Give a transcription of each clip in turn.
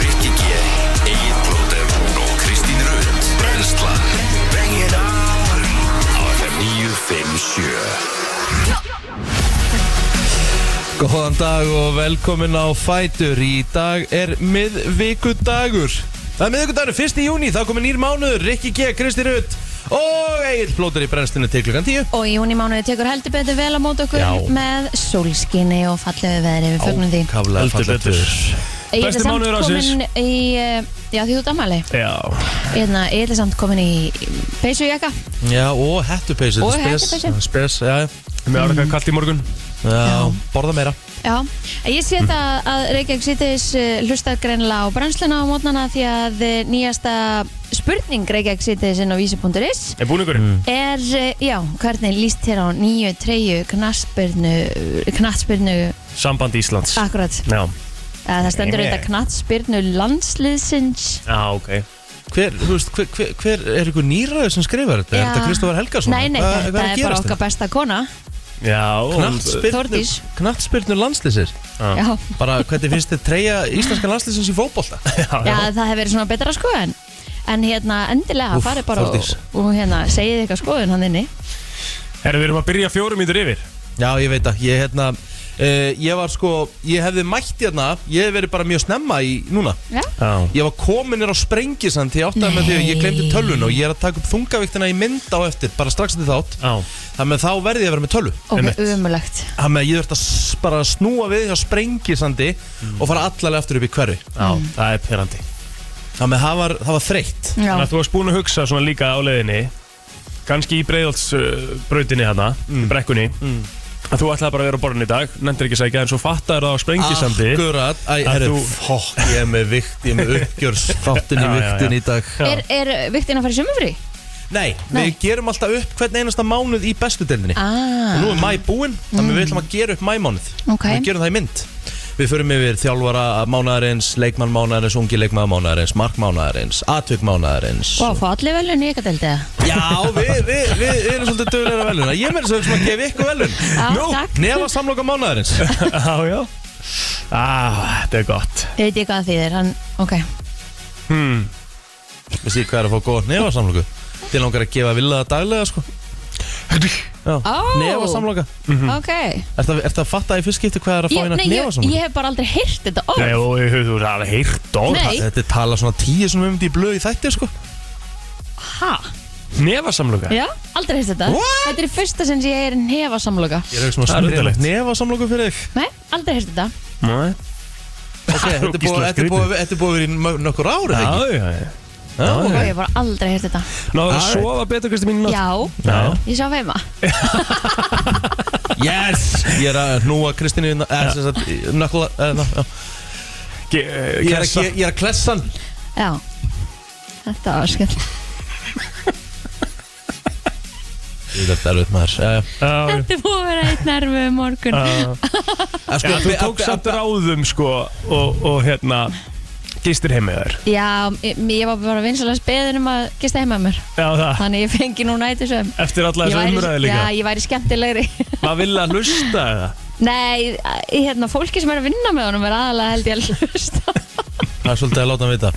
Rikki G, Egil Blóter og Kristín Rund Brenslan Bring it on Á FM 957 Góðan dag og velkomin á Fætur Í dag er miðvikudagur Það er miðvikudagur, 1. júni, þá komið nýr mánuður Rikki G, Kristi Rutt og Egil Plóter í brennstinu til klukkan 10 Og í júni mánuði tekur heldur betur vel á mót okkur Já. með sólskinni og fallegu veðri við fögnum því. Ákaflega Heldur fallegt betur. veður. Ég er Besti samt mánuður ársins. komin í, eh, já því þú damali, Já, ég er samt komin í peysujaka. Já, og hettupeysu Og þetta er spes- hettupeysu. Spes, já, mér var eitthvað kallt í morgun já, borða meira Já, ég Mm. sé það að Reykjavík Sýtis hlustar greinlega á brennsluna á mótnana því að eh, nýjasta spurning Reykjavík Sýtis inn á vísi.is Er búningurinn? er, eh, já, hvernig líst þér á nýju treyju knattspyrnu, knattspyrnu, Samband Íslands akkurat, Já, Eða það stendur Yeah. auðvitað knattspyrnu landsliðsins, já, ok Hver, þú veist, hver, hver, hver er ykkur nýraður sem skrifar þetta? Er Já. þetta Kristofar Helgason? nei, nei, Hvað- hvað að þetta er bara gerast okkar besta kona, Já, og- Knattspyrnu- Þórdís. Knattspyrnu landslýsir Já. já, Bara hvernig finnst þið treyja íslenska landslýsins í fótbolta? Já, já, já. það hefur verið svona betra sko en, en hérna endilega Úff, farið bara og, Þórdís. og hérna segið eitthvað skoðun hann inni, Herru, við erum að byrja fjórum mínútur yfir Já, ég veit að ég, hérna, uh, ég var sko Ég hefði mætt hérna Ég hef verið bara mjög snemma í núna já, Já Ég var komin er á sprengisand Því ég áttaði með því að ég glemdi tölvun Og ég er að taka upp þungavíktina í mynd á eftir Bara strax til þátt Já, Þannig að þá verði ég að vera með tölvu ok, Einmitt. umulagt, Þannig að ég þurft að s- bara snúa við hjá sprengisandi Mm. Og fara allalega aftur upp í hverfi já Mm. það er perandi Þannig að það var, það var þreytt já, Þannig að þú varst búin að hugsa svona líka á leiðinni kannski í breiðaldsbrautinni hana, í brekkunni að þú ætlaði bara að vera á borðin í dag nefndir ekki að segja, en svo fattar það á sprengisandi Akkurat, æ, Að herru, þú- fokk, ég er með vikt, ég er með uppgjörsfáttin í Já, já, já. viktin í dag er, er viktin að fara í sömufrí? Nei, Nei. við gerum alltaf upp hvern einasta mánuð í bestudelinni Ah, Og nú er mæ búinn, þannig við ætlum að gera upp mæmánuð Mm. Ok. Við gerum það í mynd Við förum yfir þjálfara mánaðarins, leikmann mánaðarins, ungi leikmann mánaðarins, mark mánaðarins, atvik mánaðarins og að fá allir velun í ykkar deildið Já, við, við, við, við erum svolítið dögulega veluna Ég meður sem að gefa ykkur velun Já, Nú, takk. Nefa samloka mánaðarins Já, já ah, Þetta er gott Ég veit ekki hvað það þýðir, hann, ok hmm. Við séum hvað er að fá góð nefa samloku Þið langar að gefa vilja daglega sko Já, Ó. nefa samloka Ok Er það að fatta í fyrst skipti hvað er að fá ég, hérna nei, ég, nefasamloku? ég hef bara aldrei heyrt þetta orð Nei, og ég hefur það heyrt og Nei. Þetta er tala svona tíu sem um þetta í blöð í þætti sko Ha? Nefasamluga Já, aldrei heyrt þetta What? Þetta er í fyrsta sinn sem ég heyr nefasamloka Ég er um ekki svona Það er skrifa undarlegt. nefa samloku fyrir þig Nei, aldrei heyrt þetta Nei. Ok, Það þetta er er búið- ógeðslega þetta er búið- þetta er búið verið í mö- nokkur ári Já, ekki? já, já Já, Og ok. ég hef bara aldrei heyrt þetta Náður að Alright. sofa betur, Kristi mín í nótt? Já, Já. ég sá feima Yes Ég er að hnúa Kristínu inn- eh, sem sagt, í- nökkla- eh, ná, já. Ge- Ég eh, er að kessa. ge- ég er að klessan Já Þetta var skemmt Þetta er erfitt maður Já, já. Já, Þetta er búið að vera eitt nervu um morgun já. En sko, Já, Þú be- tókst be- samt ráðum sko og, og hérna gistir heimiðar Já, ég, ég var bara vinsalega beðin um að gista heima um mér Já, það Þannig ég fengi nú næti sem Eftir alla þessu umræði líka Já, ég væri skemmtilegri Maður vil að hlusta eða Nei, hérna, fólki sem er að vinna með honum er aðalega held ég að hlusta Það er svolítið að láta hann vita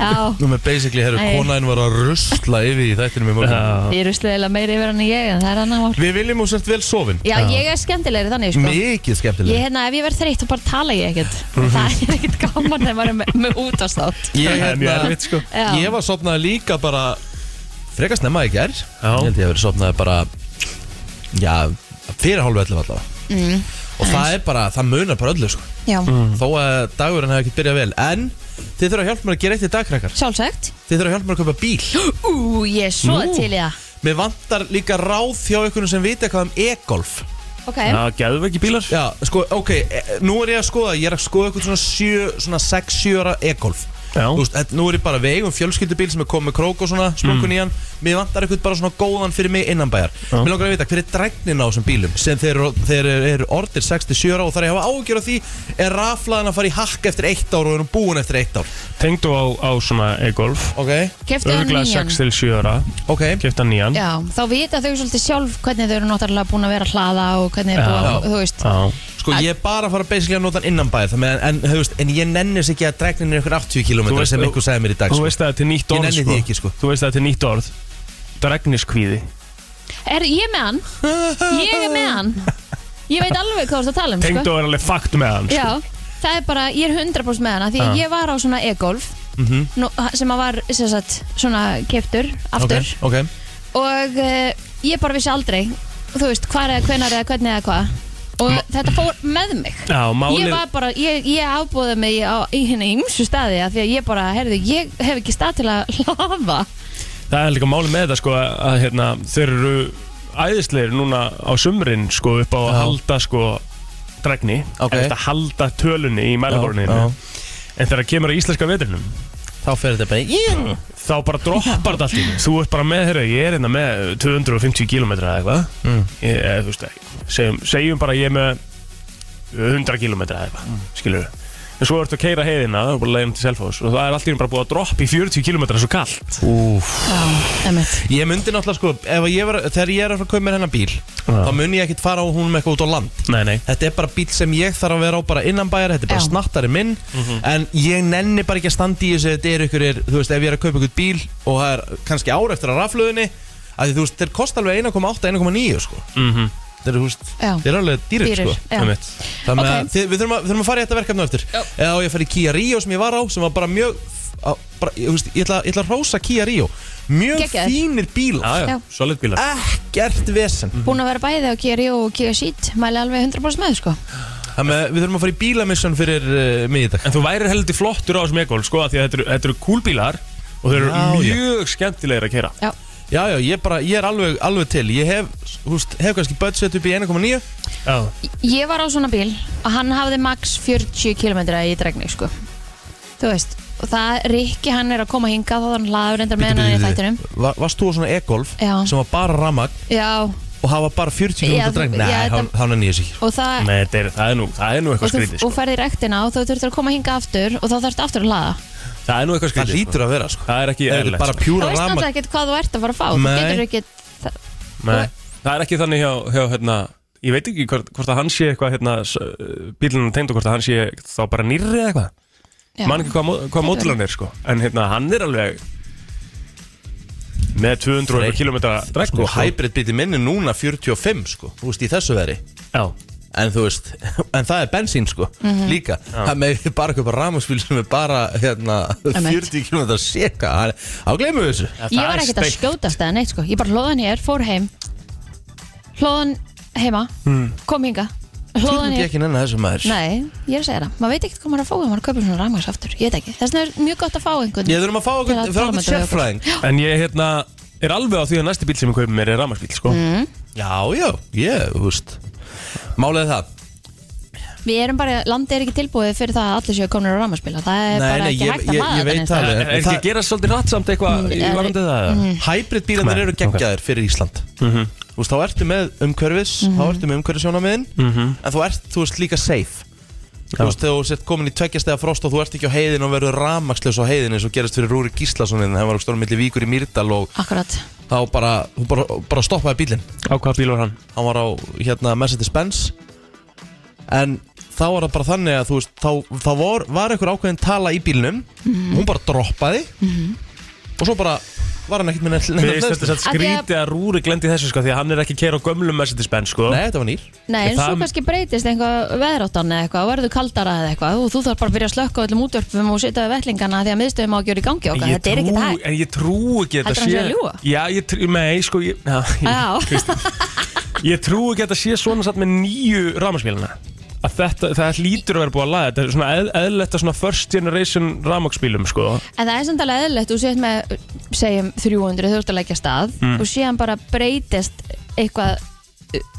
Já, Nú með basically, herru, Æ. konaðin var að rusla yfir í þættinum í morgun Já, Ég er sleiðilega meira yfir hann en ég en það er annar mál Við viljum úr sért vel sofin Já, ég er skemmtilegri þannig sko. Mikið Ég, skemmtileg hérna, ef ég verð þreytt þá bara tala ég ekkert Það er ekkert gaman þegar maður er með, með útastátt Ég, Það er mjög hérna, erfitt sko Já, ég var sopnaði líka bara Frekar snemma í gær Ég held ég að verið sopnaði bara Já, fyrir hálfu ellu allavega mm, Og það er bara, það munar bara öllu sko já. Mhm. Þó að dagurinn hefði ekkert byrjað vel En þið þurfa að hjálpa mér að gera eitt í dagkrakkar sjálfsagt Þið þurfa að hjálpa mér að kaupa bíl Ú, ég er svo Nú. til í það Mér vantar líka ráð hjá ykkur sem vita eitthvað um e-golf Ok, Já, gæðum ekki bílar Já, sko, ok, e- nú er ég að skoða Ég er að skoða eitthvað svona 7, svona 6, 7 ára e-golf Já. Þú veist, þetta- nú er ég bara vegum fjölskyldubíl sem er komið með krók og svona smunkun í hann Mér vantar eitthvað bara svona góðan fyrir mig innanbæjar Mm. Já. Mér langar að vita hver er drægnin á þessum bílum sem þeir, eru- þeir eru orðir 67 ára og þar ég hafa ágjör af því er raflaðan að fara í hakk eftir eitt ár og erum búin eftir eitt ár Tengdu á, á svona e, e-golf Ok, Keftu hann Örgulega nýjan 6 til 7 ára ok Kefta nýjan Já, þá vita þau svolítið sjálf hvernig þau eru náttúrulega búin að vera að hlaða og hvernig þau Já. eru búin að, þú veist Já. Sko ég er bara að fara basically að nota hann innanbæjar þannig að- en, þú veist, en ég nennis ekki að drægnin er eitthvað 80 km Þú veist- sem einhver sagði mér í dag Þú sko. veist að þetta er nýtt Ég orð nenni því ekki, sko. Þú veist að þetta er nýtt orð Dregniskvíði Sko. Er ég með hann? Ég er með hann Ég veit alveg hvað þú ert að tala um, sko Tengdu er alveg fakt með hann sko. Já, það er bara, ég er 100% með hana Því Ah. að ég var á svona e-golf Mhm. nú, sem að var sem sagt, svona keftur aftur Ok, ok og uh, ég bara vissi aldrei þú veist, hvar eða hvenar eða hvernig eða hvað og þetta fór með mig Já, málið Ég var bara, ég, ég ábúði mig á, í henni ímsu staði að því að ég bara, heyrðu, ég hef ekki stað til að hlafa Það er líka málið með þetta sko að, að hérna, þeir eru æðisleir núna á sumrin sko upp á að Já. halda sko dregni Ok. okay. eftir að halda tölunni í mælaborunni Já, já. en þegar það kemur að íslenska vetrinum Þá fer þetta bara í þá bara droppar þetta allt í einu. þú ert bara með, herru, ég er hérna með 250 km eða eitthvað Mm. ég, eða, þú veist, segjum, segjum bara ég er með 100 km eða eitthvað mm. skilur en svo ertu að keira heiðina og bara leiðum til Selfoss og það er allt í einu bara búið að droppa í 40 km svo kallt Úf Já, emmitt Ég myndi náttúrulega sko, ef að ég var, þegar ég er að fara að kaupa mér hennar bíl Þá mun ég ekkert fara á húnum eitthvað út á land nei, nei, Þetta er bara bíl sem ég þarf að vera á bara innanbæjar Þetta er bara Já. snattari minn En ég nenni bara ekki að standa í þessu Þetta er ykkur, er, þú veist, ef ég er að kaupa ykkur bíl Og það er kannski ár eftir að raflöðinni að því, Þú veist, þeir kosta alveg 1,8, 1,9 sko. mhm Þeir eru, þú veist, Já. þeir eru alveg dýrir, Dýrir, sko. já. Einmitt. Þannig að Ok. þið, við, þurfum að, við þurfum að fara í þetta verkefni á eftir Já. Eða á ég að fara í Kia Rio sem ég var á sem var bara mjög á, bara, ég, veist, ég, ætla, ég ætla að rósa Kia Rio Mjög Geggjaður. fínir bílar Já, Já. já, solid bílar Ekkert vesen Búin að vera bæði á Keri og Kia Sheet mæli alveg 100% með, sko Þannig að við þurfum að fara í bílamissun fyrir uh, miðdag En þú værir heldur flottur á þessum e-golf sko af Því að þetta eru- þetta eru kúlbílar Og þeir eru Já, já. mjög skemmtilegir að kera Já, Já, já, ég, bara, ég er alveg, alveg til Ég hef, húst, hef kannski budget upp í 1,9 Já ég var á svona bíl og hann hafði max 40 km í dregni sko. þú veist og það, Rikki hann er að koma hingað þá hann laður reyndar með hann í þættinum Va- Varst þú á svona e-golf Já. sem var bara ramag já, og hafa bara 40 Já, minútur dreng já, Nei, þetta- hann- hann er nýjus ekki og það Nei, þetta er, það, er nú, það er nú og, eitthvað þú, skrítið sko. og ferði rektina og þú þurftur að koma hingað aftur og þá þurftur aftur að laða Það er nú eitthvað Það skrítið lítur að vera, sko Það er ekki Ef Þetta er eðlilegt bara sko. það pjúra veist ramag náttúrulega ekkert hvað þú ert að fara að fá Nei. þú getur ekki það, Nei. Það er ekki þannig hjá, hjá hérna Ég veit ekki hvort, hvort að hann sé eitthvað hérna, bílunum tengd og hvort að hann sé þá bara nýrri eða eitthvað já. Man ekki hvað, mó- hvað Gæti mótil hann er sko En hérna hann er alveg með 200 Nei. km dregni Sko, hybrid bíti minni núna 45 sko, þú veist, í þessu veri Já, En þú veist, en það er bensín sko, Mhm. líka Það með bara eitthvað ramagsbíl sem er bara, hérna, Emmett. 40 km seka Það er- Þá gleymum við þessu það ég var er ekkert að steikt. skjótast eða neitt sko. ég bara hlóðan hér, fór heim hlóðan heima kom hingað Þú hlóðan myndi hér Hmm. ekki nenni þessu maður Nei, ég er að segja það. Maður veit ekkert hvað maður er að fá ef maður kaupir svona rafmagns aftur. Ég veit ekki. Þess vegna er mjög gott að fá einhvern. Ég þurfum að fá Til okkur að frá tala okkur með þetta við okkur. sérfræðing En ég hérna, er alveg á því að næsti bíl sem ég kaupi mér er rafmarsbíl sko. Já, já, ég, þú veist Málið er það Við erum bara, landið er ekki tilbúið fyrir það að allir séu komnir á rafmagnsbíla. Það er Nei, bara nei, ekki ég- hægt að ég- laða ég veit neins það Er, staðar. alveg. er ekki að gera svolítið rætt samt eitthvað í er- varandi það? Mm. Hybrid bílarnir Nei, Mhm. eru geggjaðir fyrir Ísland Þú veist, þá ertu með umhverfis Þá ertu með umhverfisjónamiðin Mhm. En þú ert, þú veist, líka safe Þú veist, þegar þú sett komin í tveggjastega frost og þú ert ekki á heiðin og verður ramaksleis á heiðin eins og gerist fyrir Rúri Gíslasonin hann var á stórum milli víkur í Mýrdal og Akkurat. þá bara, þú bara, bara stoppaði bílinn Á hvaða bíl var hann? hann var á, hérna, Mercedes-Benz en þá var það bara þannig að þú veist, þá, þá var, var einhver ákveðin tala í bílinum hún bara droppaði og svo bara var hann ekkert með neitt- Mér neitt finnst hleðslu. þetta Af því að- skrítið að Rúri glendi þessu sko, því að hann er ekki að kera á gömlum Mercedes-Benz sko. Nei, þetta var nýr Nei, Ég, en svo það- kannski breytist einhvað veðráttan eða eitthvað, og verður kaldara eða eitthvað og þú þarf bara að byrja að slökka á öllum útverfum og setja við vettlingana því að miðstöðum á að gjöra í gangi En okkar. ég Þetta er ekkert trú- hægt. En ég trú ekki að Heldur þetta hann sé sé að ljúga? Já, ég trú, nei, sko ég, já, ég, Já, ég trú ekki að þetta sé svona satt með nýju rafmarsbílina að þetta, það hlýtur að vera búið að laga þetta er svona eð, eðletta svona first generation rafmarsbílum sko en það er samt alveg eðlilegt, þú sétt með, segjum 300, þú ert að leggja stað Mm. og síðan bara breytist Mhm. eitthvað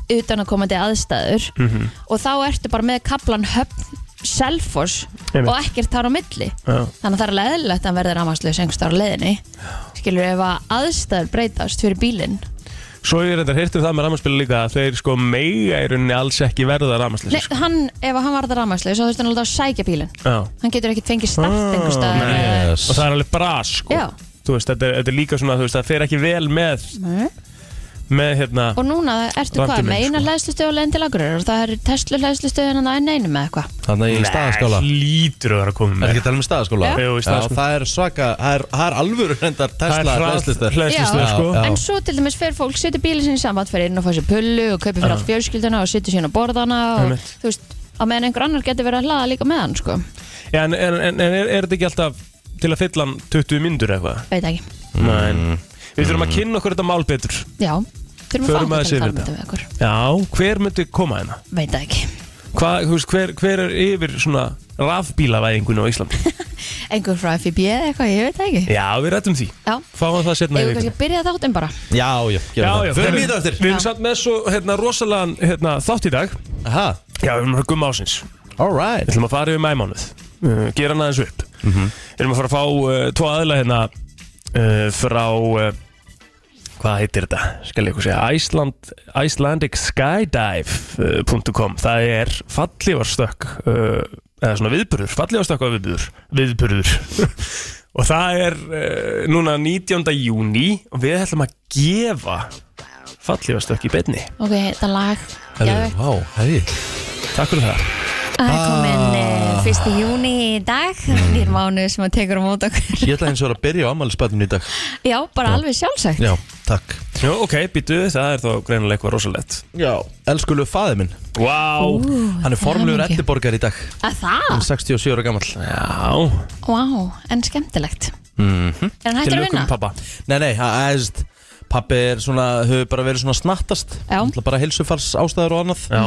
utan að komandi aðstæður og þá ertu bara með kaplan höfn Selfoss Einmitt. og ekkert þar á milli Já. þannig að það er alveg eðlilegt að hann verður rafmagnslaus einhvers þar á leiðinni skilur ef að aðstæður breytast fyrir bílinn Svo ég reyndar hirtum það með rafmagnsbíla líka að þeir sko mega í rauninni alls ekki verða Nei, rafmagnsleysir. hann, ef hann varður rafmagnslaus þá þurfti hann alveg að sækja bílinn Já. hann getur ekkert fengið start Ah, einhvers staðar nei. eða- Yes. Og það er alveg bras sko. Já. Þú veist, þetta er, þetta er líka svona, þú veist, það fer ekki vel með, Nei. með hérna, og núna ertu hvað Randiminn, með eina sko. hlæðslustöð og leiðin til Akureyrar og það er Tesla hlæðslustöðin en það er neinum með eitthvað Þannig í staðaskála lítur að vera að koma Er með. ekki að tala um staðaskóla? Já. Jú, í staðaskóla. það er svaka, það er, það er alvöru hendar Tesla hræðslistar. hlæðslistur, Já, sko. já. En svo til dæmis fer fólk, setur bílinn sinni samband fyrir inn og fá sér pullu og kaupir fyrir allt fjölskylduna og setur síðan á borðana og Einmitt. þú veist, á meðan einhver annar getur verið að hlaða líka með hann, sko, Já, en, en, en en er, er þetta ekki alltaf til að fylla hann 20 myndur eitthvað? veit ekki Nei. Við þurfum að kynna okkur þetta mál betur. Já, þurfum að fá Förum aðeins okkur til yfir að tala þetta. með okkur Já, hver myndi koma hérna? Veit það ekki, Hva, þú veist, hver, hver er yfir svona rafbílavæðingun á Íslandi? einhver frá FIB eða eitthvað, ég veit það ekki Já, við rættum því. Já, Fáum það ég setna í vil vikunni. kannski byrja þáttum bara Já, já, Já, gerum það já, Förum herru, í þetta eftir Við erum samt með svo hérna, rosalega hérna, þátt í dag Aha, Já, við erum að gumma ásins Við alright ætlum að fara yfir mæmánuð uh, Gera hann aðeins upp Við erum að fara að fá uh, tvo aðla hérna uh, Frá uh, Hvað heitir þetta? Skal ég eitthvað segja Iceland, IcelandicSkydive.com Það er fallivarstökk uh, Eða svona viðburður Fallivarstökk og viðburður Viðburður Og það er uh, núna 19. júni Og við ætlum að gefa Fallivarstökk í beinni Ok, þetta lag, Herru, geðveikt. Vá, hei Takk fyrir það það Ah. er komin fyrsti júni í dag Hmm. nýr mánu sem að tekur á mót okkur Ég ætla eins og vera að byrja á ammælisbætun í dag Já, bara alveg sjálfsagt Já, takk Jó, ok, býtu, það er þá greinilega eitthvað rosalegt Já Elskulegu faði minn Vá Hann er formlugur hamingju. eddiborgar í dag Að það? 67 ára gammal Já, Vá, en skemmtilegt Er hann til hættur að lukum vinna? pappa Nei, eh, nei, það er eðst Pappi er svona, hefur bara verið svona snattast Já. Mhm. Náttúrulega Bara heilsufars ástæður og annað Já,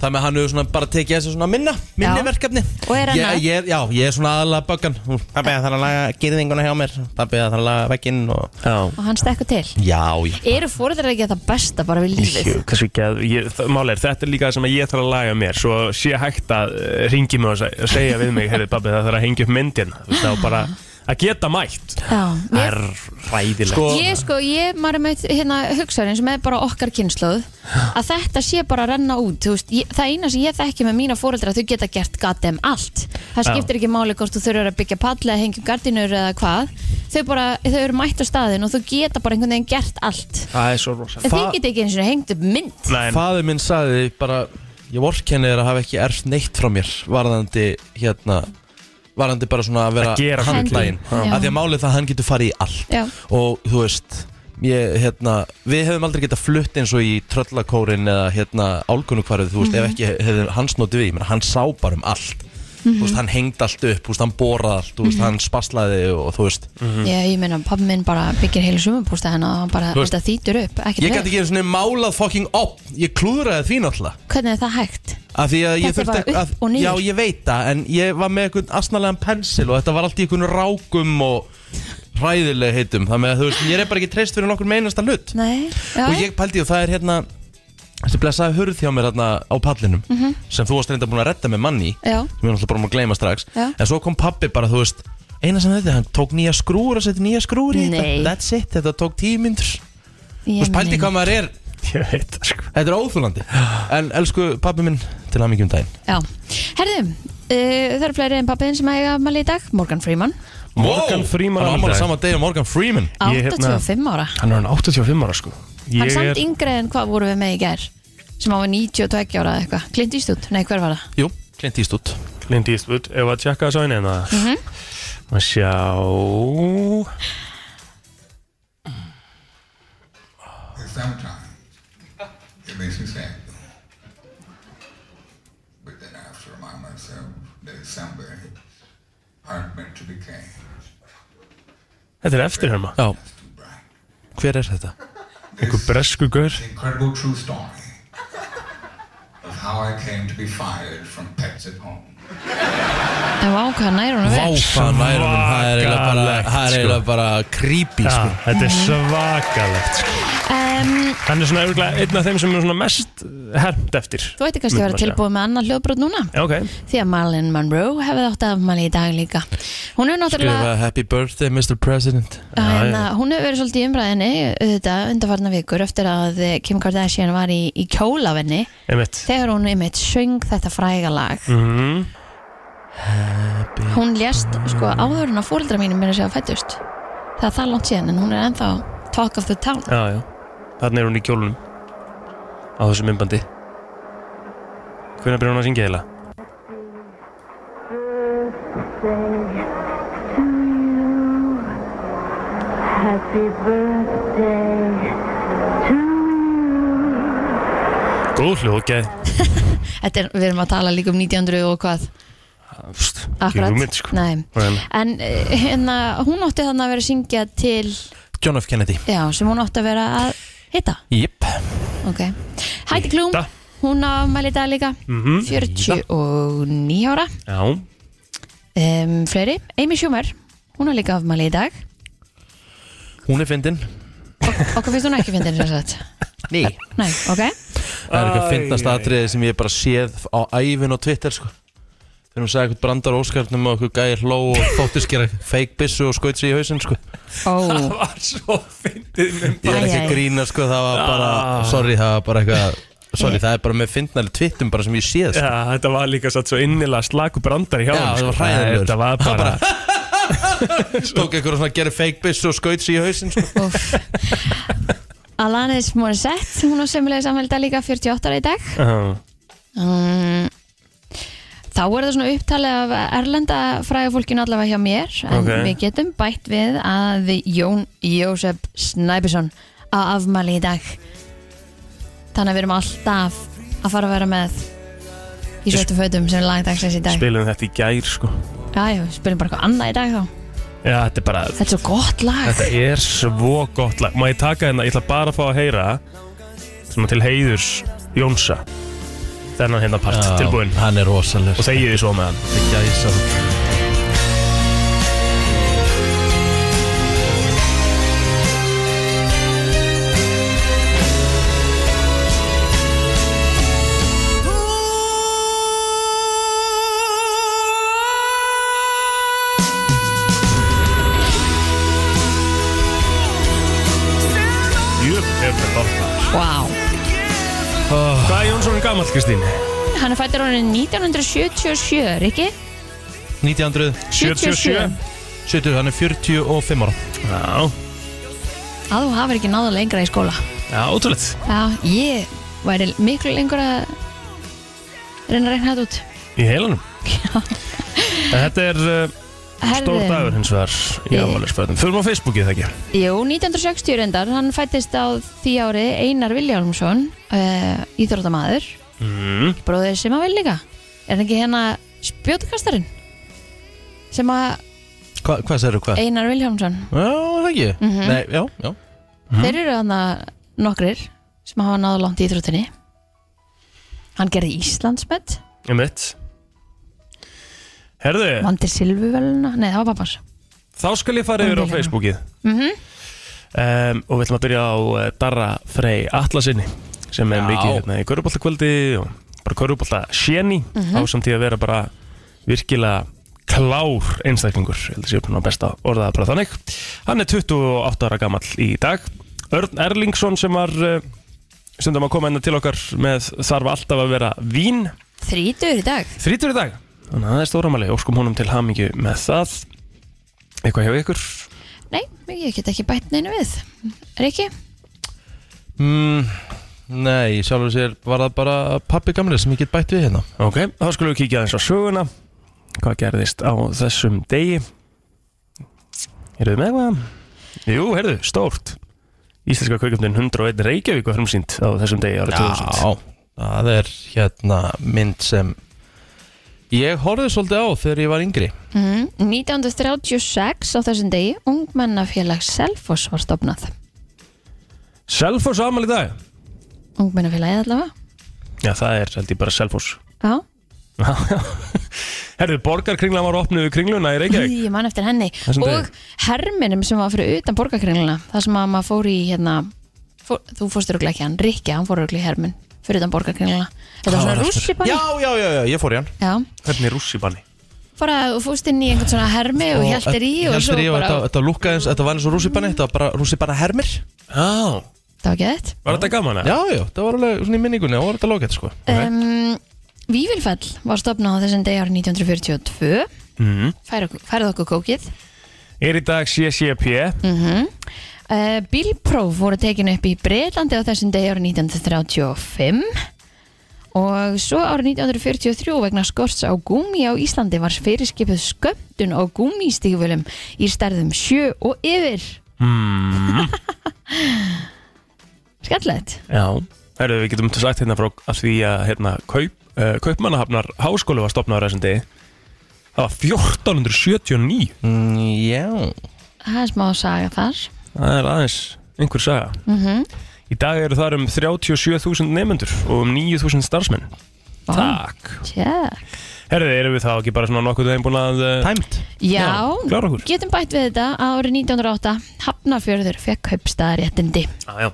Það með hann hefur svona bara tekið þessi svona minna Minni Já. verkefni Og er hann að? ég, ég, er- Já, ég er svona aðalega böggan Pappi það þarf að laga gyrðinguna hjá mér Pappi það þarf að laga vegginn og... já Og hann stekkur til Já, já Eru fórðar ekki það besta bara við lífið? Jú, kannski ekki að, ég, það- mál er, þetta er líka það sem að ég þarf að laga mér Svo sé hægt að eh, ringi mig og se- og segja við mig Herri pabbi, það þarf að hengja upp myndin Þú veist, það var bara að geta mætt Já, Það mér, er ræðilegt Sko- ég sko, ég maður er með hérna hugsaður eins með bara okkar kynnslóð að þetta sé bara að renna út þú veist, ég, það eina sem ég þekki með mína fóreldra þau geta gert gatem allt það Já. skiptir ekki máli hvort þú þurfur að byggja pall eða hengjum gardinur eða hvað þau bara, þau eru mætt á staðin og þú geta bara einhvern veginn gert allt Það er svo rosalegt en Fa- þið geta ekki eins og hengt upp mynd Nei, en- Fadur minn sagði bara Ég vorkenni þér að hafa ekki erft neitt frá mér Varðandi hérna Varðandi bara svona að vera Að gera handlægin hluti. Já. Af því að málið það að hann getur farið í allt Já. Og þú veist ég, hérna, Við hefum aldrei getað flutt eins og í Tröllakórin eða hérna, álkunukvarðið Þú veist, Mhm. ef ekki hefði hans notið við Ég meina, Hann sá bara um allt Mhm. Þú veist, hann hengd allt upp, þú veist, hann borað allt Þú veist, hann spaslaði og þú veist ég, ég meina, pappi minn bara byggir heilu sumumbústa hennar og hann bara, Þú veist- þetta þýtur upp Ég ekkert gæti veginn. ekki einu svona málað fucking op Ég klúðraði því náttúrulega hvernig er það hægt? Af því að ég Þetta er þurfti bara upp að, og niður. Já, ég veit það, en ég var með einhvern asnalegan pensil og þetta var allt í einhvern rákum og ræðileg heitum Þannig að þú veist, ég er bara ekki treyst fyrir nokkur meinasta hlut Nei, já, Og ég pældi og það er hérna þessi blessaði hurð hjá mér hérna á pallinum sem þú varst reynda búin að redda með manni Mhm. Já. sem ég náttúrulega bara má gleyma strax Já. en svo kom pabbi bara, þú veist eina sem þetta, hann tók nýja skrúur og setti nýja skrúur í Nei. þetta that's it, þetta tók tíu myndur ég þú veist, pældi hvað maður er, ég veit það sko þetta er óþúlandi en elsku pabbi minn til að um daginn Já, herðu, uh, það eru fleiri en pappiðin sem eiga afmæli í dag, Morgan Freeman Morgan Freeman Hann á ámæla afmæli. saman degi og Morgan Freeman Ég, hérna- 85 ára Hann er hann 85 ára sko Hann Ég samt er- yngri en hvað vorum við með í gær sem hann var 92 ára eða eitthvað Clint Eastwood, nei hver var það? Jú, Clint Eastwood Clint Eastwood, ef að tjekka þessu á henni hérna mm Mhm. -hmm. að sjá And sometimes it makes me sad. But then I have to remind myself that somewhere aren't meant to be came. þetta er eftirherma Já, It's too bright. hver er þetta? einhver bresku gaur The incredible true story of how I came to be fired from pets at home. En vá, hvað nær hún að vera? Váfan værum hún, það er eiginlega bara, Svakalegt, það er sko. eiginlega bara creepy Já, sko. þetta er svakalegt sko. Uh, um, Hann er svona örgulega einn af þeim sem er svona mest hermt eftir Þú ætti kannski að vera Myndi maður tilbúið með annar hljóðbrot núna Já, ok Því að Marilyn Monroe hefði átt afmæli í dag líka Hún er náttúrulega Skrifa happy birthday Mr. President hérna, Hún hefur verið svolítið í umræðinni auðvitað undarfarna vikur eftir að eh, Kim Kardashian var í, í kjólafenni Einmitt þegar hún einmitt söng þetta fræga lag Mhm. Hún lést sko áður en að fóreldra mínum meira sér að fættust Það er það langt síðan en hún er ennþá talk of the town Já, já Þannig er hún í kjólunum Á þessu myndbandi Hvernig byrjar hún að syngja heila? Happy birthday to you. Góð hljóð, ok Þetta er, við erum að tala líka um 1900 og hvað Ekki Akkurat, hugmynd, sko nei Nei, nei. En eh, hérna, hún átti þannig að vera að syngja til John F. Kennedy Já, sem hún átti að vera að hitta Jip Ok Heidi Klum, Hitta. Mhm. hún á afmæli í dag líka 49 ára Já um, Fleiri, Amy Schumer Hún á líka afmæli í dag Hún er fyndin Okkur finnst hún ekki fyndin sem sagt Ný Nei, ok Það er eitthvað Æ, fyndast æ, æ. atriði sem ég bara séð á ævin og Twitter sko Þegar hún sagði eitthvað brandar óskarnum og eitthvað gæði hló og þóttist gera fake bissu og skaut sér í hausinn sko Ó, var svo fyndið Ég er mynd ekki Æ, æ. að grína sko, það var bara Ah. Sorry, það var bara eitthvað Sorry, það er bara með fyndnæli tvittum bara sem ég séð sko. Já, þetta var líka satt svo innilega slaku brandar í hjá Já, honum, það var sko. hræðilegur. Þetta var Það bara Tók eitthvað svona að gera fake bissu og skaut sér í hausinn sko. uff Alanis Morissette, hún á semulega afmæli í dag líka 48 ára í dag Já. Mm, Þá er það svona upptalið af erlenda fræga fólkinu allavega hjá mér en Ok. við getum bætt við að Jón Jósef Snæbjörnsson á afmæli í dag þannig að við erum alltaf að fara að vera með í svötu fötum sem er lagdagsins í dag Spilum þetta í gær, sko Jájú, spilum bara eitthvað annað í dag þá Já, þetta er bara Þetta er svo gott lag Þetta er svo gott lag Má ég taka hérna, ég ætla bara að fá að heyra Svona til heiðurs Jónsa Þennan hérna part, Já, tilbúinn Hann er rosaleg Og þegið því svo með hann gæsa Jöp, jöp, jöp wow. Hvað er Jónsson gamall, Kristín? Hann er fættur árið 1977, ekki? 1970, 77. hann er 45 ára Já, Að þú hafir ekki náða lengra í skóla já, ótrúlegt Já, ég væri miklu lengur að reyna að reyna þetta út Í heilanum En þetta er uh, stór Herðu, dagur hins vegar Í Ég- afmælisbörnum Förum á Facebookið það ekki Jú, 1960 reyndar, hann fættist á því ári Einar Viljálmsson uh, Íþróttamaður, mm. bróðir sem að vel líka Er hann ekki hérna spjótukastarinn? Sem að Hva, Hvað segirðu Eh. hvað? Einar Viljálmsson Já, það ekki Mhm. Nei, já, já Mhm. Þeir eru hann nokkrir sem hafa náðu langt í Íþróttinni Hann gerði Íslandsmet Ég mitt Herðu, Vandir Silvuveluna, nei það var pappans Mhm. Þá skal ég fara yfir á Vandilega. Facebookið um, Og við ætlum að byrja á eh, Darra Frey Atlasinni sem er Já. mikið hérna í Köruboltakvöldi og bara Körubolta sjeni á samtíð að vera bara virkilega klár einstaklingur ég held að sé uppnáð best að orða það bara þannig Hann er 28 ára gamall í dag Örn Erlingsson sem var eh, stundum að koma hennar til okkar með þarf alltaf að vera vín Þrítur í dag þrítur í dag Þannig að það er stóramæli, óskum honum til hamingju með það Eitthvað hjá ykkur Nei, ég get ekki bætt neina við Riki? mm, Nei, sjálfur sér var það bara pappi gamlega sem ég get bætt við hérna Ok, þá skulum við kíkja aðeins á söguna Hvað gerðist á þessum degi Eruðu með hvað? Jú, heyrðu, stórt Íslenska kveikjöndin 101 Reykjavík var frumsýnd á þessum degi árið 2000 Já, það er hérna mynd sem Ég horfði svolítið á þegar ég var yngri Mm, 1936 á þessum degi Ungmennafélag Selfoss var stopnað Selfoss ámæl í dag Ungmennafélagið allavega Já, það er held ég bara Selfoss Já, Herðu, borgarkringla var opnuð við kringluna í Reykjavík ég man eftir henni Þessum Og herminum sem var fyrir utan borgarkringluna Það sem að maður fór í hérna fór, þú fórst rúglega ekki í hann, Rikki, hann fór rúglega í hermun fyrir utan borgarkringla þetta var svona rússipann Já, já, já, já, ég fór í hann já, Hvernig rússibanni? bara þú fórst inn í einhvern svona hermi og hjæltir í og svo Hjæltir í og bara, þetta, þetta lúkkaði eins, þetta var eins og rússipanni Þetta var bara rússipanna hermir Já, það var gett var þetta gaman að? Já, já, það var alveg svona í minningunni og var þetta lókett sko um, Vívilfell var stopnað á þessum degi árið 1942 Mm. Færa okkur- færið okkur kókið Er í dag CCP uh, Bílpróf voru tekin upp í Breitlandi á þessum degi árið 1935 og svo árið 1943 vegna skorts á gúmi á Íslandi var fyrirskipuð skömmtun á gúmistígvölum í stærðum sjö og yfir Mm. Hmm. Skallett Já Herru, við getum sagt hérna frá að því að hérna, kaup, uh, Kaupmannahafnar háskóli var stopnaður þessum degi Það var 1479 mm, Já Það er smá saga þar Það er aðeins einhver saga Mhm. Í dag eru þar um 37.000 nefnendur og um 9.000 starfsmenn Vá, Takk tjekk. Herru, erum við þá ekki bara svona nokkuð þeim búin að uh, Tæmt Já, klára okkur. getum bætt við þetta að árið 1908 Hafnafjörður fekk kaupstaðaréttindi Já, já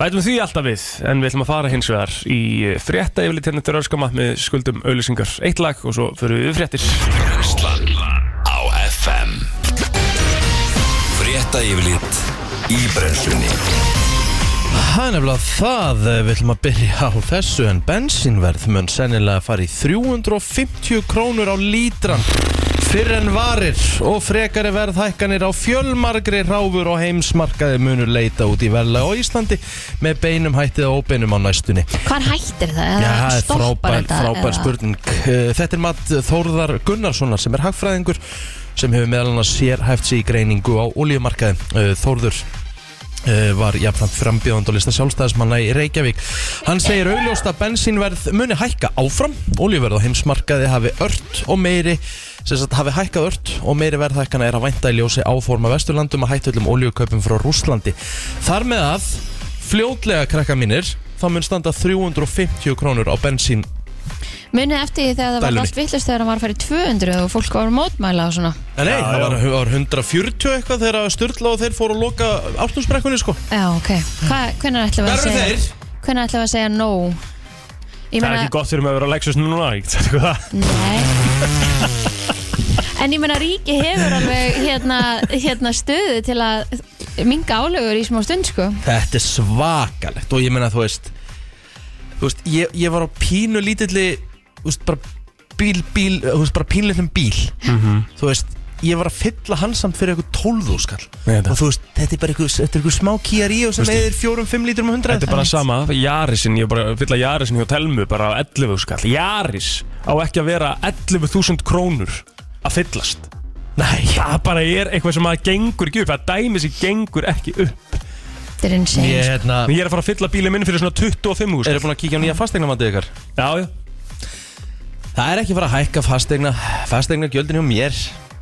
Bætum því alltaf við, en við ætlum að fara hins vegar í frétta yfirleitt hérna til rörskama með skuldum auðlýsingar eitt lag og svo förum við yfir fréttir. Brennslan á FM Frétta yfirlit í brennslunni Það er nefnilega það, eh, við ætlum að byrja á þessu en bensínverð mun sennilega fara í 350 krónur á lítran fyrr en varir og frekari verðhækkanir á fjölmargri ráfur og heimsmarkaði munur leita út í verðlega á Íslandi með beinum hættið og óbeinum á næstunni. Hvar hættir það? Já, Eða það er stoppar frábær, þetta, frábær eða? spurning. Eh, Þetta er mat Þórðar Gunnarssonar sem er hagfræðingur sem hefur meðal annars sérhæft sig í greiningu á olíumarkaði. Eh, Þórður eh, var jafnframt frambjóðand á lista sjálfstæðismanna í Reykjavík. Hann segir augljóst að bensínverð muni hækka áfram. Olíuverð á heimsmarkaði hafi ört og meiri sem sagt hafi hækkað ört og meiri verðhækkana er að vænta í ljósi áforma Vesturlandum að hættu öllum olíukaupum frá Rúslandi. Þar með að fljótlega krakka mínir þá mun standa 350 krónur á bensín Munið eftir því þegar það var Dælunni. allt vittlust þegar hann var að fara í 200 og fólk var að mótmæla og svona Nei, nei, það já. var, það var 140 eitthvað þegar að Sturla og þeir fóru að loka áttumsbrekkunni sko Já, ok Hva, Hvenær ætlum við Hvar að eru segja þeir? Hvenær ætlum við að segja no? Ég Það er meina, ekki gott fyrir mig að vera á Lexus núna, ég get sagt ykkur það. nei En ég meina ríki hefur alveg hérna, hérna stöðu til að minga álögur í smá stund sko Þetta er svakalegt og ég meina þú veist Þú veist, ég, ég var á pínu lítilli Þú veist, bara bíl, bíl Þú veist, bara pínlillum bíl Þú veist, ég var að fylla hann samt fyrir eitthvað 12 skall Nei, þetta- Og þú veist, þetta er bara eitthvað, þetta er eitthvað smá kíjar í og sem eðir 4-5 lítrum og 100 Þetta er bara sama, Jarisin, ég er bara að fylla Jarisin hjá Telmu bara á 11 skall. Jaris á ekki að vera 11.000 krónur að fyllast. Nei, Það bara er eitthvað sem að gengur ekki upp, það dæmi sem gengur ekki upp. Þetta er insane ég yeah. hérna En ég er að fara að fylla bílið minn fyrir svona 25 skall. Eru búin að kíkja á nýja fastegnamandið ykkar? Já, já. Það er ekki bara að hækka fastegna Fastegna hjá mér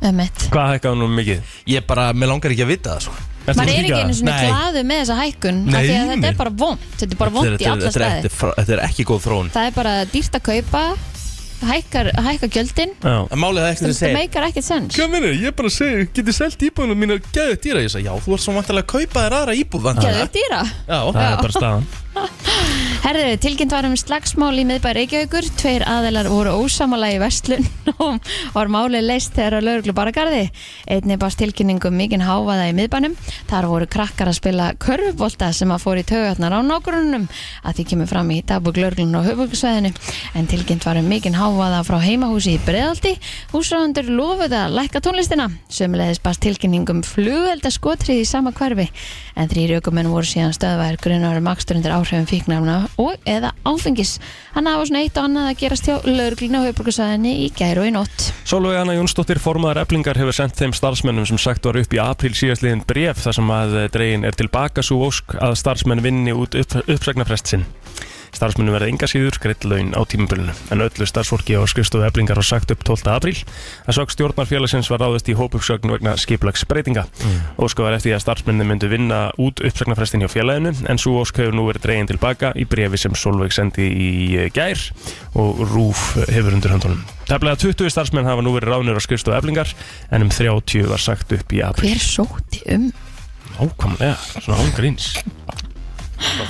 Ömmett Hvað hækkaði nú mikið? Ég bara, mér langar ekki að vita það sko Ertu Man búin að er ekki kíkja á einu það? svona Nei. glaðu með þessa hækkun af því að Nei, þetta nei. er bara vond Þetta er bara vond í Þetta er- þetta alla er- staði þetta er frá- Þetta er ekki góð þróun Það er bara dýrt að kaupa hækkar, hækkar gjöldin Já. En Málið er ekki það Þetta segir meikar ekkert sens Hvað meina, ég bara segi, getið selt íbúðunum mín að geða dýra Ég sagði, já, þú ert svo vantilega að kaupa þér aðra íbúð Geðu væntanlega. dýra Já, Það er bara staðan. Herðu, tilkynnt var um slagsmál í miðbæ Reykjavíkur Tveir aðelar voru ósamala í vestlun og var málið leist þegar að lauruglu bara garði Einni barst tilkynningum mikinn háfaða í miðbænum Þar voru krakkar að spila körfubolta sem að fór í tögarnar á nágrunum að því kemur fram í dagbúk lauruglun á höfugsveðinu en tilkynnt var um mikinn háfaða frá heimahúsi í Breðaldi Húsráðundur lofuðu að lækka tónlistina Sömulegðis barst tilkynningum flugelda skotrið í sama hverfi en þrýr aukumenn voru síðan stöðvæðir grunnar um akstur undir áhrifum fíknarna og eða áfengis. Hann hafa svona eitt og annað að gerast hjá lauruglinu á höfbrukusæðinni í gær og í nótt. Solveig Anna Jónsdóttir formaðar eflingar hefur sendt þeim starfsmennum sem sagt var upp í apríl síðastliðin bref þar sem að eh, dregin er tilbaka svo ósk að starfsmenn vinni út upp, uppsagnarfrest sinn. Starfsmennum verða enga síður greitt laun á tímabilinu en öllu starfsfólki á skrifstofu eflingar var sagt upp 12. apríl að sög stjórnarfélagsins var ráðist í hópuppsögn vegna skiplags breytinga. Ósk var eftir því að starfsmenni myndu vinna út uppsagnarfrestin hjá félaginu en svo ósk hefur nú verið dregin tilbaka í brefi sem Solveig sendi í eh, gær og Rúf hefur undir höndunum. Tæplega 20 starfsmenn hafa nú verið ráðnir á skrifstofu eflingar en um 30 var sagt upp í apríl. Hver sótti um? Nákvæmlega, svona án gríns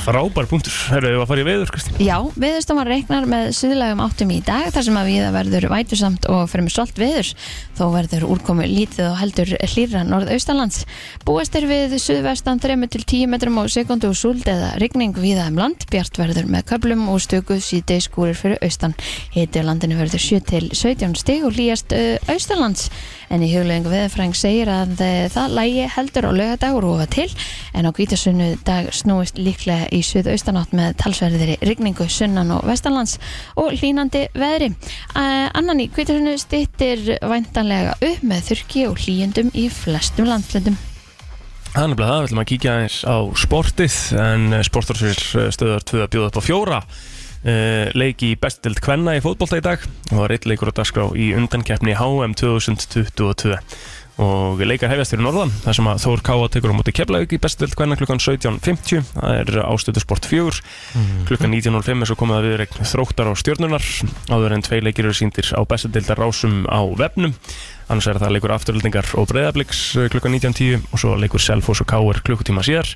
Frábær punktur, herru, við varum að fara í veður, Kristín Já, viðurstofan reiknar með suðlægum áttum í dag þar sem að viða verður vætusamt og fremur stolt viður þó verður úrkomu lítið og heldur hlýra norðaustalands. Búast er við suðvestan 3-10 metrum á sekundu og súld eða rigning viða um land bjart verður með köplum og stöku síðdeis skúrir fyrir austan. Hiti á landinu verður 7-17 stig og hlýjast uh, austalands en í huglegingu viðfræng segir að uh, það lægi heldur á lögadag og rúfa til en á hvítasunnu dag snúist líklega í suðaustanátt með talsverðir rigningu sunnan og vestanlands og hlínandi veðri. Uh, annan í hvítasunnu stittir væntanlega upp með þurki og hlíjendum í flestum landslöndum. Það er nefnilega það, við ætlum að kíkja aðeins á sportið en eh, sportarsvíl stöðar 2 að bjóða upp á fjóra Eh, leik í bestild kvenna í fótbolta í dag og það er eitt leikur á dagskrá í undankeppni HM 2022 og leikar hefjast fyrir norðan þar sem að Þór Káa tekur á móti keflaug í bestild kvenna klukkan 17.50 það er ástötu sport 4 klukkan 19.05 er svo komið að við regn þróttar á stjörnunar áður en tvei leikir eru síndir á bestildar rásum á vefnum annars er það leikur afturlendingar og breyðabliks klukkan 19.10 og svo leikur Selfos og Káur klukkutíma síðar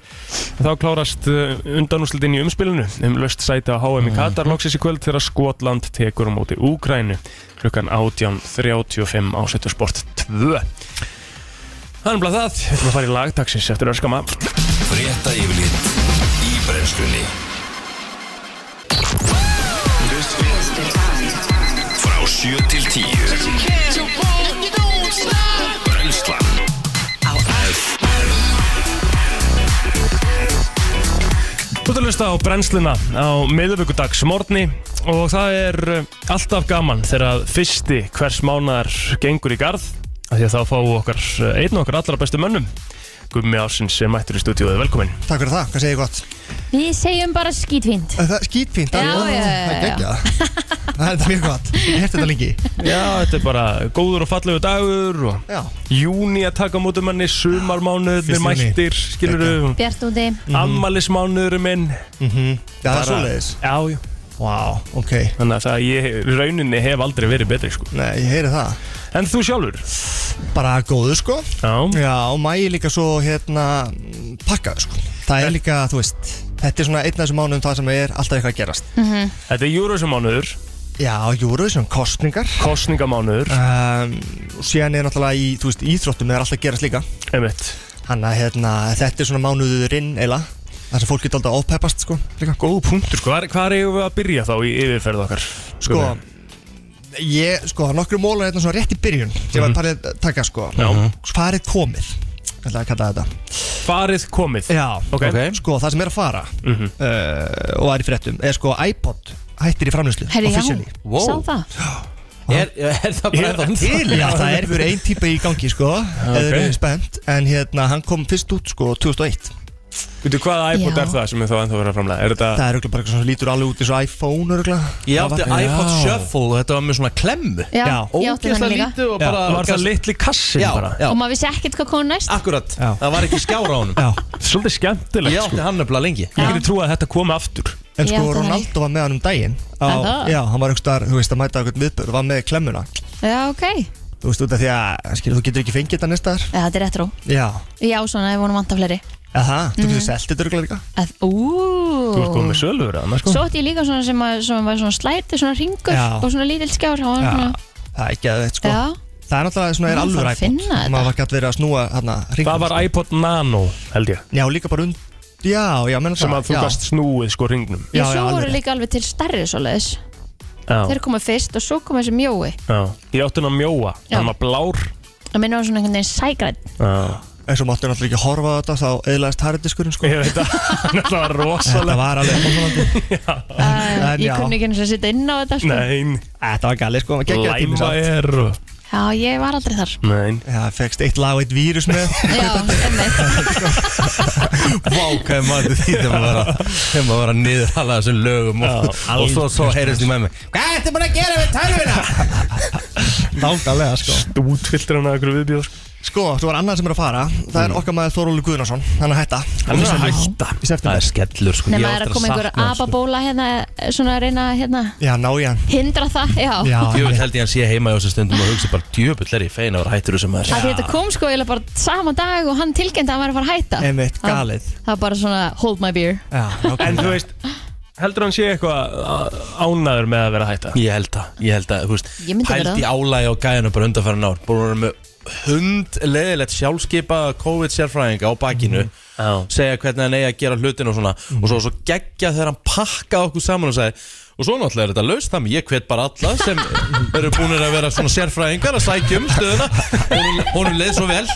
þá klárast eh, undanúrslitin í umspilinu um löst sæti á HM í Katar loksins í kvöld þegar Skotland tekur á móti Úgrænu klukkan 18.35 á Settur Sport 2 Það er bara það, við ætlum að fara í lagtaksins eftir öskama Frétta yfirlit í brennslunni Frá 7 til 10 Brennslan Þú ert að hlusta á brennsluna á miðvíkudags morgni og það er eh, alltaf gaman þegar að fyrsti hvers mánar gengur í garð af því að þá fáum við okkar eh, einn og okkar allra bestu mönnum Gummi Ásins sem mættur í stúdíóið, velkomin Takk fyrir það, hvað segir ég gott? Við segjum bara skítfínt. Það er skítfínt Já, það- já, já, Það já. er geggjað Það er þetta mjög gott, ég hérti þetta lengi Já, þetta er bara góður og fallegu dagur og Já, júni að taka á mótum manni, sumarmánuður Fyrsti júní. mættir, skilur við Bjart úti. ammalismánuður minn Mhm. já það er Bara- svoleiðis Já, já, Vá, ok þannig að það ég í rauninni hef aldrei verið betri sko. Nei, ég heyri það En þú sjálfur? Bara góður sko Já, Já, og mæ líka svo hérna pakkaður sko Það er líka, þú veist Þetta er svona einn af þessum mánuðum það sem er alltaf eitthvað að gerast þetta er júrusumánuður Já, Eurovision, kostningar kostningamánuður, um, og Síðan er náttúrulega í, þú veist, íþróttum er alltaf að gerast líka einmitt Þannig að hérna, þetta er svona mánuðurinn eila Það sem fólk getur alltaf að ofpeppast sko líka. Góð punktur, hvað, hvað eigum við að byrja þá í yfirferð okkar? Sko Ég, sko, nokkru mólar hérna svona rétt í byrjun sem var parið að taka sko Já. Hvað er komið? Ég ætla að kalla þetta farið komið Já, Ok. Sko, það sem er að fara uh, og er í fréttum er sko iPod hættir í framlýslu Herri, já, Wow. sá það. Er, er það bara Er ennþá ennþá- til? Já, það er fyrir ein típa í gangi sko eða ok. okay. spennt en hérna, hann kom fyrst út sko 2001 Veitu hvaða iPod Já. er það sem er þá ennþá verið að framlega? Er þetta Það er auðvitað bara eitthvað sem lítur alveg út eins og iPhone auðvitað Ég átti iPod Já. Shuffle og þetta var með svona klemmu Já, ég átti Ógeðslega þannig líka. lítið og bara var það litli kassin Já, bara? já, Og maður vissi ekkert hvað kom næst. akkurat Já. Það var ekki skjár á honum Já, Svolítið skemmtilegt Ég sko átti hann nefnilega lengi Ég geti trúið að þetta komi aftur en Já, sko það er- Ronaldo var með hann um daginn Er það? Já, hann var auðvitað, þú veist, að mæta auðvitað viðbörð var með klemmuna Já, ok. Þú veist, út af því að skilur, þú getur ekki fengið þetta næst þar Já, þetta er retro. Já, Já, svona, ég vonum vanta fleiri. aha, þú getur selgt þetta örgulega líka Að, úúúú. Þú ert komið með sölur að sko Svo átti ég líka svona sem, að, sem var svona slæti, svona ringur Já. og svona lítill skjár hann var Já, svona, það er ekki að veit sko Mhm. já, Það er náttúrulega svona er Maður alveg þarf að finna ræpot þetta. Maður var gætt verið að snúa hérna hringnum, Það var sko. iPod Nano held ég Já, líka bara und Já, já, menna sem að þú gast snúið sko ringnum já, svo voru líka alveg til starri svoleiðis, Já, þeir komu fyrst og svo komu þessi mjói, já Ég átti hann að mjóa, Já. hann var blár það minna var svona einhvern veginn sægrætt, Já, En svo máttu náttúrulega ekki horfa á þetta Þá eðlaðist harðdiskurinn sko ég veit að þetta var Þetta rosalega var alveg mótmálandi. uh, En ég já. kunni ekki eins og sitta inn á þetta sko, Nein, Þetta var gæli sko Gekkja tími læma samt er og- já, ég var aldrei þar, Nein Já, fegst eitt lag og eitt vírus með já, einmitt. Vá, hvað er maður því þegar maður var að- þegar maður var að niður alla þessum lögum og, og svo, svo heyrðist í með mig Hvað ertu búin að gera við tölvina? Nákvæmlega sko Útfylltir hann að ykkur viðbjóð sko. Sko, svo er annað sem er að fara Það Mm. er okkar maður Þorúli Guðnarsson Hann er að hætta Hann er að hætta Í Það er september skellur sko Nei, ég á maður er eftir að koma einhver sakna hans, sko. ababóla hérna, svona að reyna að, hérna, Já, ná ég hann hindra það, já. Já, Djöfull held ég hann sé heima á þessu stundum og hugsa bara Djöfull er ég fein að vera hættur þessu maður Að því þetta kom sko eiginlega bara sama dag og hann tilkynnti að hann væri að fara að hætta. einmitt, Það- galið Það var bara svona, hold my beer. Já, En þú nákvæmlega. veist, heldur hann sé eitthvað á- ánaður með að vera að hætta? Ég held að, ég held að, þú veist, Ég myndi vera pælt í álægi á gæðinu bara undanfæran ár Búin að vera með hundleðilegt sjálfskipa COVID-sérfræðinga á bakinu Mhm. Já. Segja hvernig hann eigi að gera hlutin og svona Og svo, svo geggja þegar hann pakkaði okkur saman og sagði Og svo náttúrulega er þetta laust, þannig ég hvet bara alla sem eru búinir að vera svona sérfræðingar að sækja um stöðuna Honum- Honum leið svo vel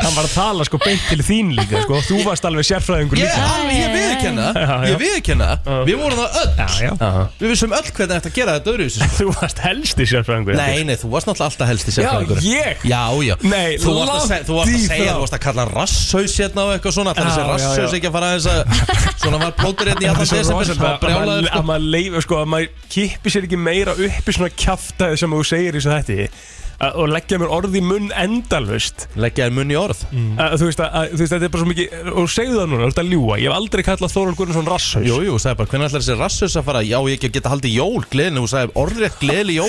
Hann var að tala sko beint til þín líka sko Þú varst alveg sérfræðingur Ég, líka alveg- ég viðurkenna, það, ég viðurkenna það. Við vorum það öll, já. Já. við vissum öll hvernig þetta gera þetta öðruvísi sko. Þú varst helsti sérfræðingur Nei, nei, þú varst náttúrulega alltaf helsti Já, sérfræðingur ég Já, já Nei, Þú varst að, seg, langt þú varst að í segja, frá. þú varst að kalla hann rasshaus hérna og eitthvað svona Þannig Já, að já, rasshaus já. ekki að fara aðeins að Svona var plótur hérna í Það allan er svo desember rosalega Það að maður- brjálaður sko að maður leifur sko að maður kippi sér ekki meira upp í svona kjaftaði sem þú segir í svo þetta og leggja mér orð í munn endalvist Leggja þér munn í orð að, þú, veist, að, að, þú veist þetta er bara svo mikið og segðu það núna, þú ert að ljúa ég hef aldrei kallað Þóral Gunnarsson rasshaus Jú, jú, sagði bara, hvernig ætlar þessi rasshaus að fara Já, ég get að haldi jól, gleðinu Þú sagði orðrétt gleðli jól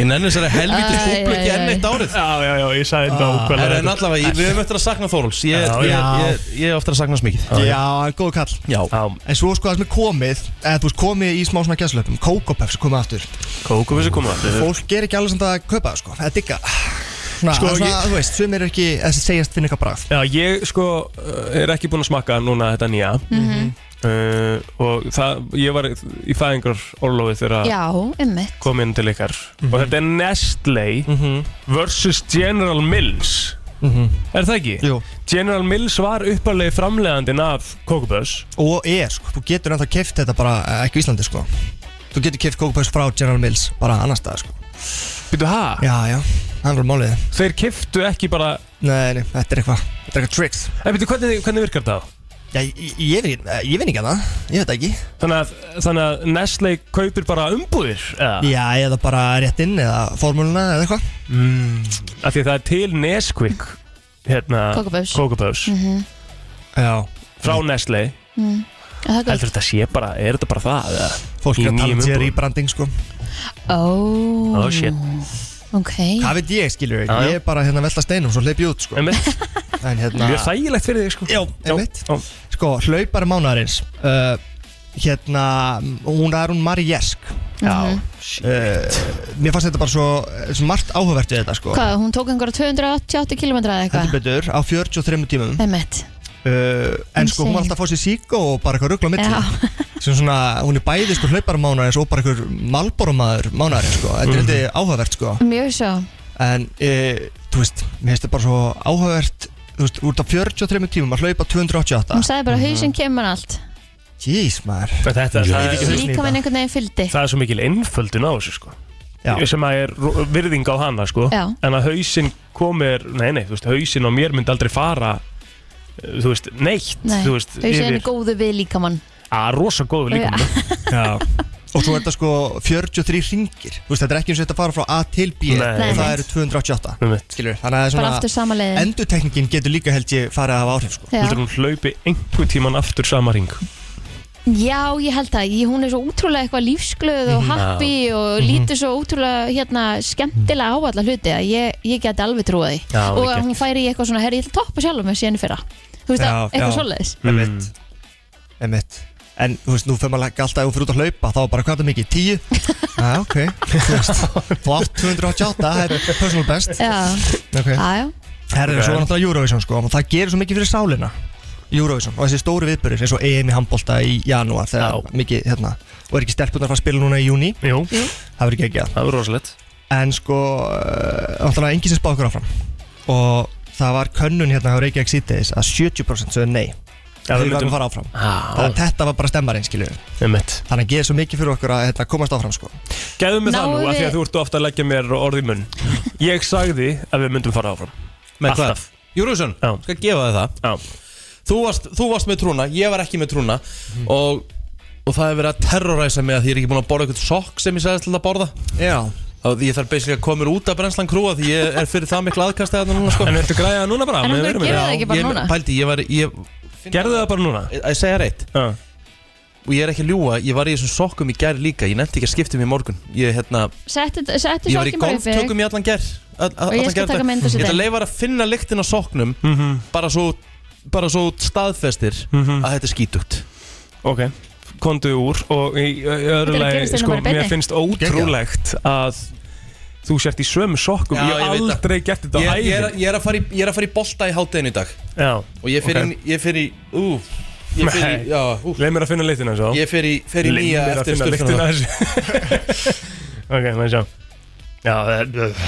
Ég nenni þessari helvítið Æ, skúplu ekki æ, enn æ. eitt árið Já, já, já, ég sagði þetta Ah. Er en ákvæmlega allavega, ég- við höfum eftir að sakna Þóróls Ég Já, ég- já. ég- ég hef eftir að sakna hans mikið Já, hann er góð kall Já, En svo sko það sem er komið eða þú veist komið í smá svona gæslöpum Kókopefs er komið aftur Kókum við sem koma Fólk er ekki alveg samt að kaupa það sko eða digga Svona, Sko, það er svona ég- þú veist, sum er ekki þessi segjast finna eitthvað bragð Já, ég sko uh, er ekki búinn að smakka núna þetta nýja Mhm. uh, og það, ég var í fæðingar orlofið þegar Já, ummitt. kom inn til ykkar og þetta er Nestle versus General Mills Er það ekki? Mhm. Jú. General Mills var upparlegi framlegandinn af Kokobus Og er sko, þú getur ennþá keft þetta bara eh, ekki í Íslandi sko Þú getur keft kókopefs frá General Mills bara annar stað sko Býtu ha? Já, já, það er bara málið Þeir kiftu ekki bara Nei, nei, þetta er eitthvað, þetta er eitthvað tricks En býtu, hvernig, hvernig virkar það? Já, ég, ég, ég, veit- eh, ég veit ekki að það, ég veit það ekki Þannig að, þannig að Nestle kaupir bara umbúðir eða? Já, eða bara rétt inn eða formúluna eða eitthvað Mm. Af því að það er til Nesquik hérna, Kókaböfs. Kokobus Mhm. Já, frá Nestle Mm. Það er gott. Heldur þetta sé bara, er þetta bara það? eða? fólk Í er nýjum að tala sér í umbúðum. branding sko Ó, Oh shit ok. Hvað veit ég, skilur Já, já. Ég er bara hérna velta steinum, svo hleyp ég út, sko Einmitt. En hérna Mjög þægilegt fyrir þig sko Já, einmitt já. Sko, hlaupari mánuðarins uh, Hérna, hún er hún Mari Jesk Já, uh, Mér fannst þetta bara svo, svo margt áhugavert við þetta, sko Hvað, hún tók einhverja 288 km eða Þetta eitthvað? betur, á 43 tímum uh, Ummitt. En sko, hún var Eh, Insane. alltaf að fá sér sík og bara eitthvað ruggla á Já, milli Sem svona, hún er bæði sko hlaupari mánuðarins og bara eitthvað malborumadur mánuðarins, sko Þetta er eitthvað áhugavert, sko mjög svo. en e, þú veist, mér finnst þetta bara svo áhugavert þú veist, úr það 43 tímum að hlaupa Hún 288 sagði Mhm. bara, hausinn kemur allt. jís maður En Þetta, það, Ég veit er, ekki. Líka minn einhvern veginn fylgdi. það er svo mikil einföldun á þessu sko Já. sem að er ro- virðing á hana sko Já. en að hausinn komir, nei nei, þú veist hausinn á mér myndi aldrei fara eh, þú veist, neitt Nei, þú veist, hausinn er góðu við líkamann. að rosa góður líka já. og svo er þetta sko 43 ringir þú veist, þetta er ekki eins og þetta fara frá A til B Nei. og það Nei. eru 288 Einmitt. skilur, við, þannig að Bara aftur svona sama leiðin. endutekningin getur líka held ég farið að hafa áhrif sko. Já. heldur hún hlaupi einhver tíman aftur sama ring Já, ég held það. Ég- Hún er svo útrúlega eitthvað lífsglöð Mhm. og happy og lítur svo útrúlega hérna, skemmtilega á alla hluti að ég, ég geti alveg trúið því. Já, og ég að get. hún færi í eitthvað svona, herri, ég ætla að toppa sjálfum mig síðan í fyrra. Þú veist Já, það, eitthvað já. svoleiðis. Mm. emitt emitt En þú veist, nú fyrir maður ekki alltaf ef þú fyrir út að hlaupa, þá er bara hvað er það mikið, 10? Já, ah, ok, þú veist, þú átt 288, það er personal best. Já, Okay. já, já. Herðu, svo er náttúrulega Eurovision sko og það gerir svo mikið fyrir sálina Eurovision og þessi stóru viðbörður eins og EM í handbólta í janúar þegar Já. mikið hérna og er ekki stelpunar að fara að spila núna í júni Jú, Jú. það verður ekki ekki að það er rosalegt en sko eh, náttúrulega engin sem spáð okkur áfram og það var könnun hérna á Reykjavík síðdeis að 70% sögðu nei Já, um þegar við við myndum- varum að fara áfram Já, Þannig að þetta var bara stemmarinn skilju einmitt þannig að gerir svo mikið fyrir okkur að hérna, komast áfram sko Gæðum við það Náum nú, af því við- að þú ert ofta að leggja mér orð í munn Ég sagði að við myndum fara áfram með hvað? Alltaf. Júruðsson, Já. skal gefa þið það Já, þú varst, þú varst með trúna, ég var ekki með trúna og, og og það er verið að terroræsa mig að því ég er ekki búin að borða eitthvað sokk sem ég sagðist til að borða Já og ég þarf basically að koma mér út af brennslan krúa því ég er fyrir það miklu aðkast eða núna sko En ertu græðað núna bara? En með hún er að veru minni? gera það ekki bara ég, núna Pældi, ég var, ég, Gerðu það bara núna? að segja reitt Já. og ég er ekki að ljúa, ég var í þessum sokkum í gær líka ég nefndi ekki að skipta um í morgun ég, hérna, Settu settu ég var í sokkinn bara upp þig golftökum í allan gær all, Og ég skal taka mynd af þessu Ég ætla að þeim. leifa að finna lyktin á sokknum bara svo bara svo staðfestir Mhm. að þetta er skítugt Ok, kondu úr og í í Þetta er að öðru lagi, gerast hérna sko, bara í beinni. mér finnst ótrúlegt að þú sért í sömu sokkum, Já, ég ég veit hef það. aldrei gert þetta ég, á ég, er, æði ég, er að fara í, ég er að fara í bolta í hátteginu í dag Já, og ég fer Ok. í, ég fer í ú, ég fer í, Nei. já, ú, leið mér að finna litina svo ég fer í, fer í nýja Leið mér að eftir finna litina stundina þessu Ok, maður sjá Já, það-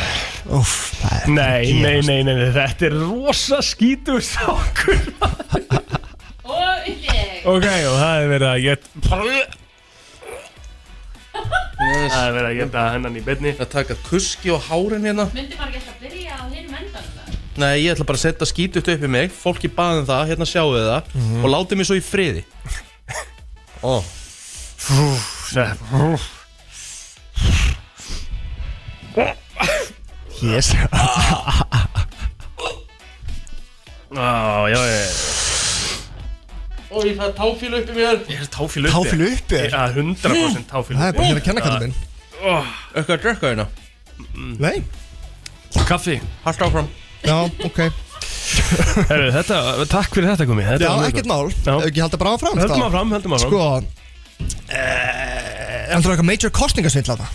Úf, það er nei, nei, nei, nei, nei, þetta er rosa skítur sokkur Ok, og það er verið að get Það er verið að geta hennan í beinni að taka kuski og hárin hérna Myndi bara ekki að byrja á hinum endan Nei, ég ætla bara að setja skítugt upp í mig Fólki baðum það, hérna sjáu þið það Og látið mér svo í friði Ó, Yes Já, já, já, já Ó ég það er táfíl upp í mér Ég er táfíl uppi Táfílu uppi þér. Já, 100% táfíl Það uppi er bara hér að hérna kenna kallum minn Ökkur að drekka hérna Mm. Nei Kaffi Hallt áfram Já, ok Herru, þetta, takk fyrir þetta komið Já, ekkert mál Já. Ef Ekki halda bara áfram Höldum þá. áfram, höldum áfram Sko eh, Er það eitthvað major kostningasvindl að það?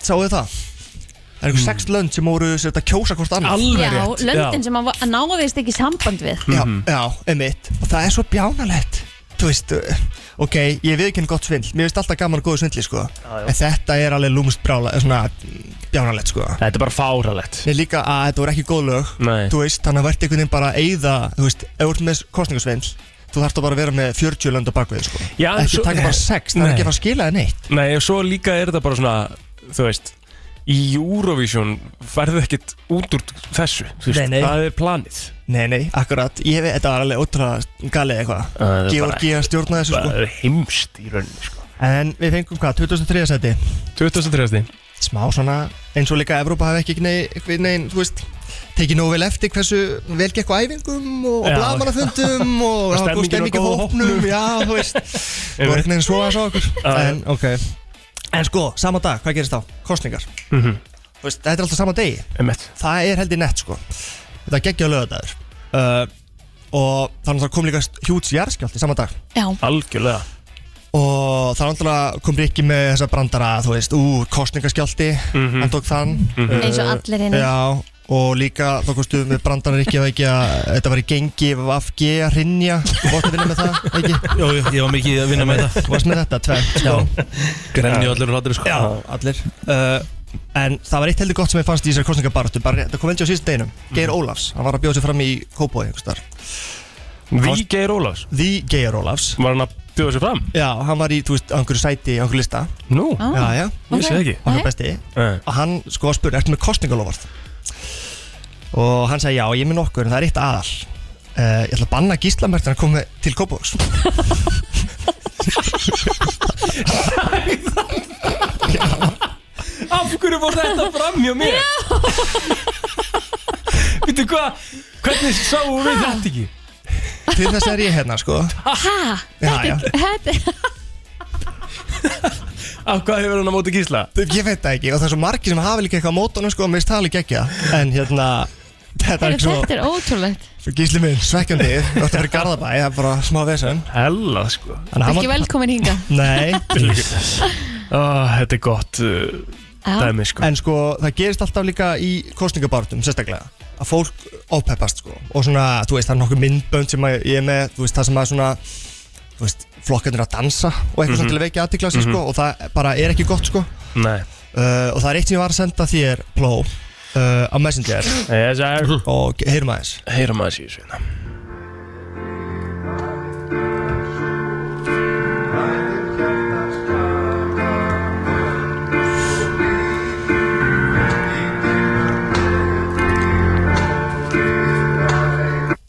Sáu þið það? Það er eitthvað sex lönd sem voru sem þetta kjósa hvort annað Hmm. Alveg Já, rétt löndin sem að að náðist ekki samband við Já, Mhm. já, emitt Og það er svo bjánalegt Þú veist, uh, ok, ég viðkynna gott svindl Mér finnst alltaf gaman og góðu svindli, sko Já, já. En þetta er alveg lúmst brála, eh, svona mm, bjánalegt, sko Þetta er bara fáralegt Ég líka að þetta voru ekki góð lög Nei Þú veist, þannig að verði einhvern veginn bara að eyða Þú veist, ef þú ert með kostningasvindl Þú þarfst að bara vera með 40 lönd á bakvið, sko Já, en Ekki svo- taka bara sex, það er Nei. ekki að fara að skila það neitt Nei, og svo líka er þetta bara svona Þú veist Í Eurovision færðu ekkert út úr þessu þú veist, Nei, nei. Það er planið Nei, nei, akkurat, ég veit, þetta var alveg ótrúlega galið eitthvað Það er bara- Georgía stjórnaði þessu Það sko er heimst í rauninni sko. En við fengum hvað, 2003 seti 2003 Smá svona, eins og líka Evrópa hafi ekki negin, negin þú veist Tekið nóg vel eftir hversu vel gekk á æfingum og, og Já, bladamannafundum Og og það var góð stemmingin var stemmingi góð á hópnum, já, þú veist Það var veit. ekki neginn svo að svo okkur Já, En, ok En sko, sama dag, hvað gerist þá? Kostningar Mhm. Þú veist, þetta er alltaf sama degi Emmett það er heldur nett sko þetta geggja lögadagur uh, og það er náttúrulega kom líka hjúts jarðskjálti saman dag Já, Algjörlega og það er náttúrulega kom Rikki með þessa brandara þú veist, ú, kostningaskjálti Mhm. hann tók þann Uh, eins og allir hinn já, og líka þá kostu með brandara Rikki að ekki að þetta var í gengi VFG að rinja þú vorst að vinna með það, ekki? Jó, jó, ég var mikið að vinna með það Þú varst með þetta, tvennt sko. Grenni og allir hlátri sko Já, allir uh, En það var eitt heldur gott sem ég fannst í þessari kostningabaratu bara, þetta kom veldi á síðust deginum, Geir Ólafs hann var að bjóða sér fram í Kópói Vígeir Ólafs The Geir Ólafs Var hann að bjóða sér fram? Já, hann var í, þú veist, á einhverju sæti, á einhverju lista Nú Á, Já, já Ég sé ekki. Hann Nei. var besti Nei. Og hann sko var spurði, ertu með kostningalofart? Og hann sagði, já, ég er með nokkur, en það er eitt aðal uh, Ég ætla að banna gíslamertin að koma til Kópavóks Af hverju fór þetta fram hjá mér? Vittu hvað, hvernig sáum við þetta ekki? Til þess er ég hérna, sko Hæ? Já, já Ah, Þetta Af hvað hefur hann á móti gísla? Ég veit það ekki, og það er svo margir sem hafa líka eitthvað á mótunum, sko, og mér stali ekki En hérna, þetta er er, ekki svo, þetta er ótrúlegt svo gísli minn, svekkjandi Og þetta er Garðabæ, það er bara smá vesen Hella sko Þannig hann Ekki var- velkomin hinga Nei, oh, Þetta er gott uh, dæmi sko En sko, það gerist alltaf líka í kostningabartum, sérstaklega að fólk ópeppast sko og svona, þú veist, það er nokkuð myndbönd sem að ég er með þú veist, það sem að svona þú veist, flokkarnir að dansa og eitthvað svona til að vekja aðtikla sig sko og það bara er ekki gott sko Nei uh, og það er eitt sem ég var að senda þér pló uh, á Messenger Eh, Yes, I... og heyrum aðeins Heyra maður sér sveina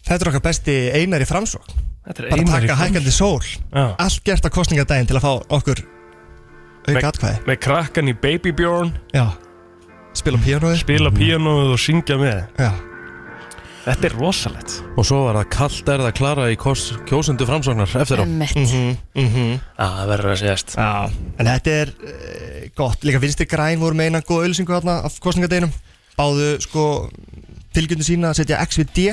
Þetta er okkar besti einar í framsókn Þetta er bara Einar í taka Fram. hækandi sól Já. allt gert á kostningadaginn til að fá okkur auka atkvæði Með krakkan í Baby Bjorn já spila um píanóið Bila píanóið og syngja með já Þetta er rosalegt Og svo var það kallt er það klara í kos, kjósundu framsóknar eftir á Einmitt. Mhm. Ah, Það verður að segjast Já, en þetta er uh, gott, líka Vinstri Græn voru með eina góða auðlýsingu hérna af kostningadeginum báðu sko fylgjöndu sína að setja X við D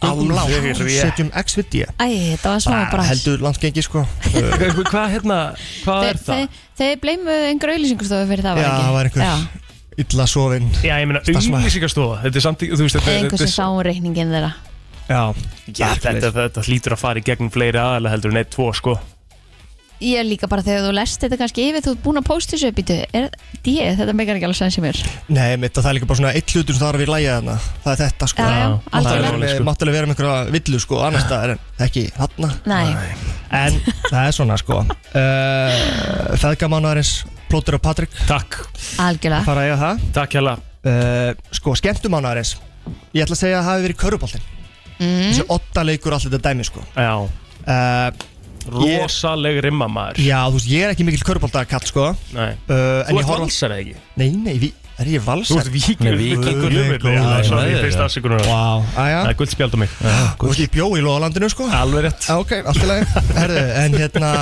Göngum Alveg lágt, rétt. setjum X við D Æ, þetta var smá bara brans heldur langt gengi sko Uh, Hvað hvað, hérna, hvað Þeir, er það? þeir, þeir bleimu einhver auðlýsingustofu fyrir það Já, var ekki það var einhver Já, illa sofin Já, ég meina Starfsmaður. auðlýsingastofa Þetta er samt í, þú veist, þetta eða er einhver sem þetta er- sáum reikningin þeirra Já, Já, þetta, þetta hlýtur að fara í gegnum fleiri aðalega heldur en eitt, tvo, sko Ég er líka bara þegar þú lest þetta kannski yfir þú ert búin að posta þessu upp í þau Er ég, þetta meikar ekki alveg sens í mér Nei, mitt og það er líka bara svona eitt hlutur sem það er að við lægja þarna Það er þetta sko Já, já, Máttalega algjörlega. vera með- máttalega vera með einhverja villu sko annars það er ekki þarna Nei, En það er svona sko uh, Feðgamánaðarins Plótur og Patrik Takk, algjörlega fara að eiga það takk hella uh, sko, skemmtum ánæðarins ég ætla að segja að það hafi verið köruboltin Mm. þessi otta leikur allir þetta dæmi sko Já, uh, Ég- rosaleg rimma maður já, þú veist, ég er ekki mikil köruboltakall sko uh, Nei. en Þú ég ert horf valsar eða ekki? nei, nei, vi, er ég Þú valsar ert vikingur Víkingur. Guðmur, Góður, já, sorry, maður, fyrst já. afsökunar wow. aðja, Það er guldspjald á mig þú veist, ég bjó í Lóðalandinu sko ah, Alveg rétt ok, allt í lagi herðu, en hérna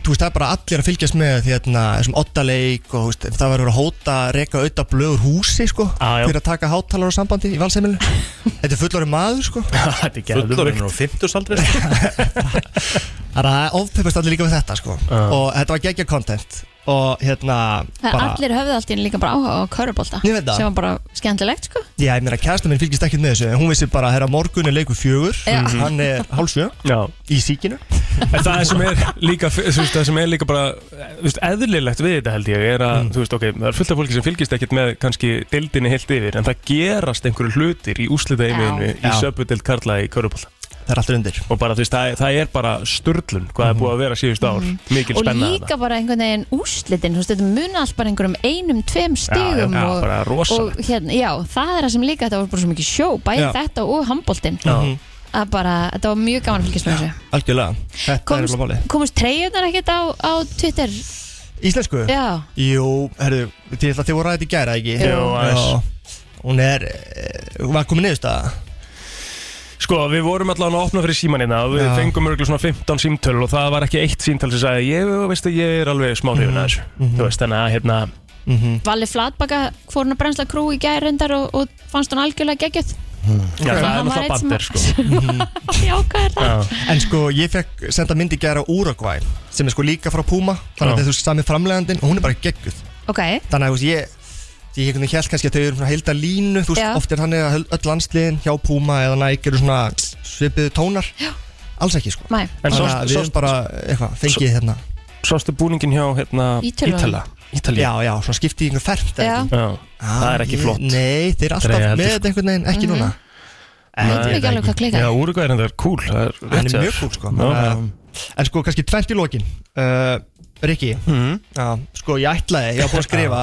þú veist, það er bara allir að fylgjast með því hérna, þessum otta leik og þú veist, það var að vera að hóta reka auðvitað blöður húsi sko Já, já. fyrir að taka hátalara sambandi í valseimilinu þetta er fullorinn maður sko Þetta er Fullorinn geðveikt. og 50 aldrei sko. Það er að ofpeppast allir líka við þetta sko Og þetta var geggja content Og hérna Það er allir höfðu allt í henni líka bara áhuga á körubólta Ég veit það. Sem var bara skemmtilegt sko Já, ég meina kæsta minn fylgist ekkert með þessu En hún vissi bara að herra morgun er leikur fjögur Já. Hann er hálsjö Já í síkinu En það sem er líka, þú veist, það sem er líka bara, þú veist, eðlilegt við þetta held ég er að, Mm. þú veist, ok, það er fullt af fólki sem fylgist ekkert með kannski deildinni heilt yfir, en það gerast einhverju hlutir í úslita einu í Já. söpudeld karla í Körupólta. Það er allir undir Og bara, þú veist, það, það er bara störlun hvað það er búið að vera síðust ár, mikil Mm. Og spenna líka bara einhvern veginn úslitin þú veist, Þetta muna allt bara einhverjum einum, tveim stigum já, og, bara rosalegt. og hérna, Já, það er það sem líka Þetta var bara svo mikið sjó, bæði Já. þetta og handbóltin Já. Að bara, þetta var mjög gaman að fylgjast með þessu Algjörlega Þetta er alveg máli Komust, komust treyjunar ekkert á, á Twitter Íslensku? Já, Jú, herru, þið ætla að þið voru ræðið í gæra, ekki? Jú, aðeins. Já. Hún er, eh, hún var komin niðurst að Sko, við vorum allavega að opna fyrir símanina og við Já. fengum örgulega svona 15 símtöl og það var ekki eitt símtöl sem sagði ég, veist að ég er alveg smá Mhm. hrifin að þessu þú veist, þannig að hérna, Mhm. Valli Flatbaka fór hún að brensla krú í gær reyndar og, og fannst hún algjörlega geggjöð já, það er Hann var náttúrulega einn sem- bandir sko. Já, hvað er það? Já. En sko, ég fekk senda myndi gæra Uruguay Sem er sko líka frá Puma Þannig Já. að þetta er þú veist, sami framlegandinn Og hún er bara gegguð Ok, þannig að þú veist, ég ég hef einhvern veginn held kannski að þau eru svona heilda línu þú veist, Já. oft er þannig að öll landsliðin hjá Puma eða Nike eru svona svipiðu tónar Já. alls ekki sko mæ, en þannig svo, að við svo, erum bara eitthvað, fengið hérna sástu búningin hjá hérna, Ítölum. Ítala Ítalíu. já, já, svona skipti í einhver fermt já Já. það er ekki flott Ah, nei, sko. Mm. þeir eru Dregið alltaf heldur, með þetta einhvern veginn, ekki núna Við veitum ekki alveg hvað klikkar já, Úrugvæð er þetta cool það er, hann rétt er hjá mjög þér. kúl sko Já. uh, en sko, kannski tvert í lokin uh, Rikki, Hmm. já, sko ég ætlaði, ég var búin að skrifa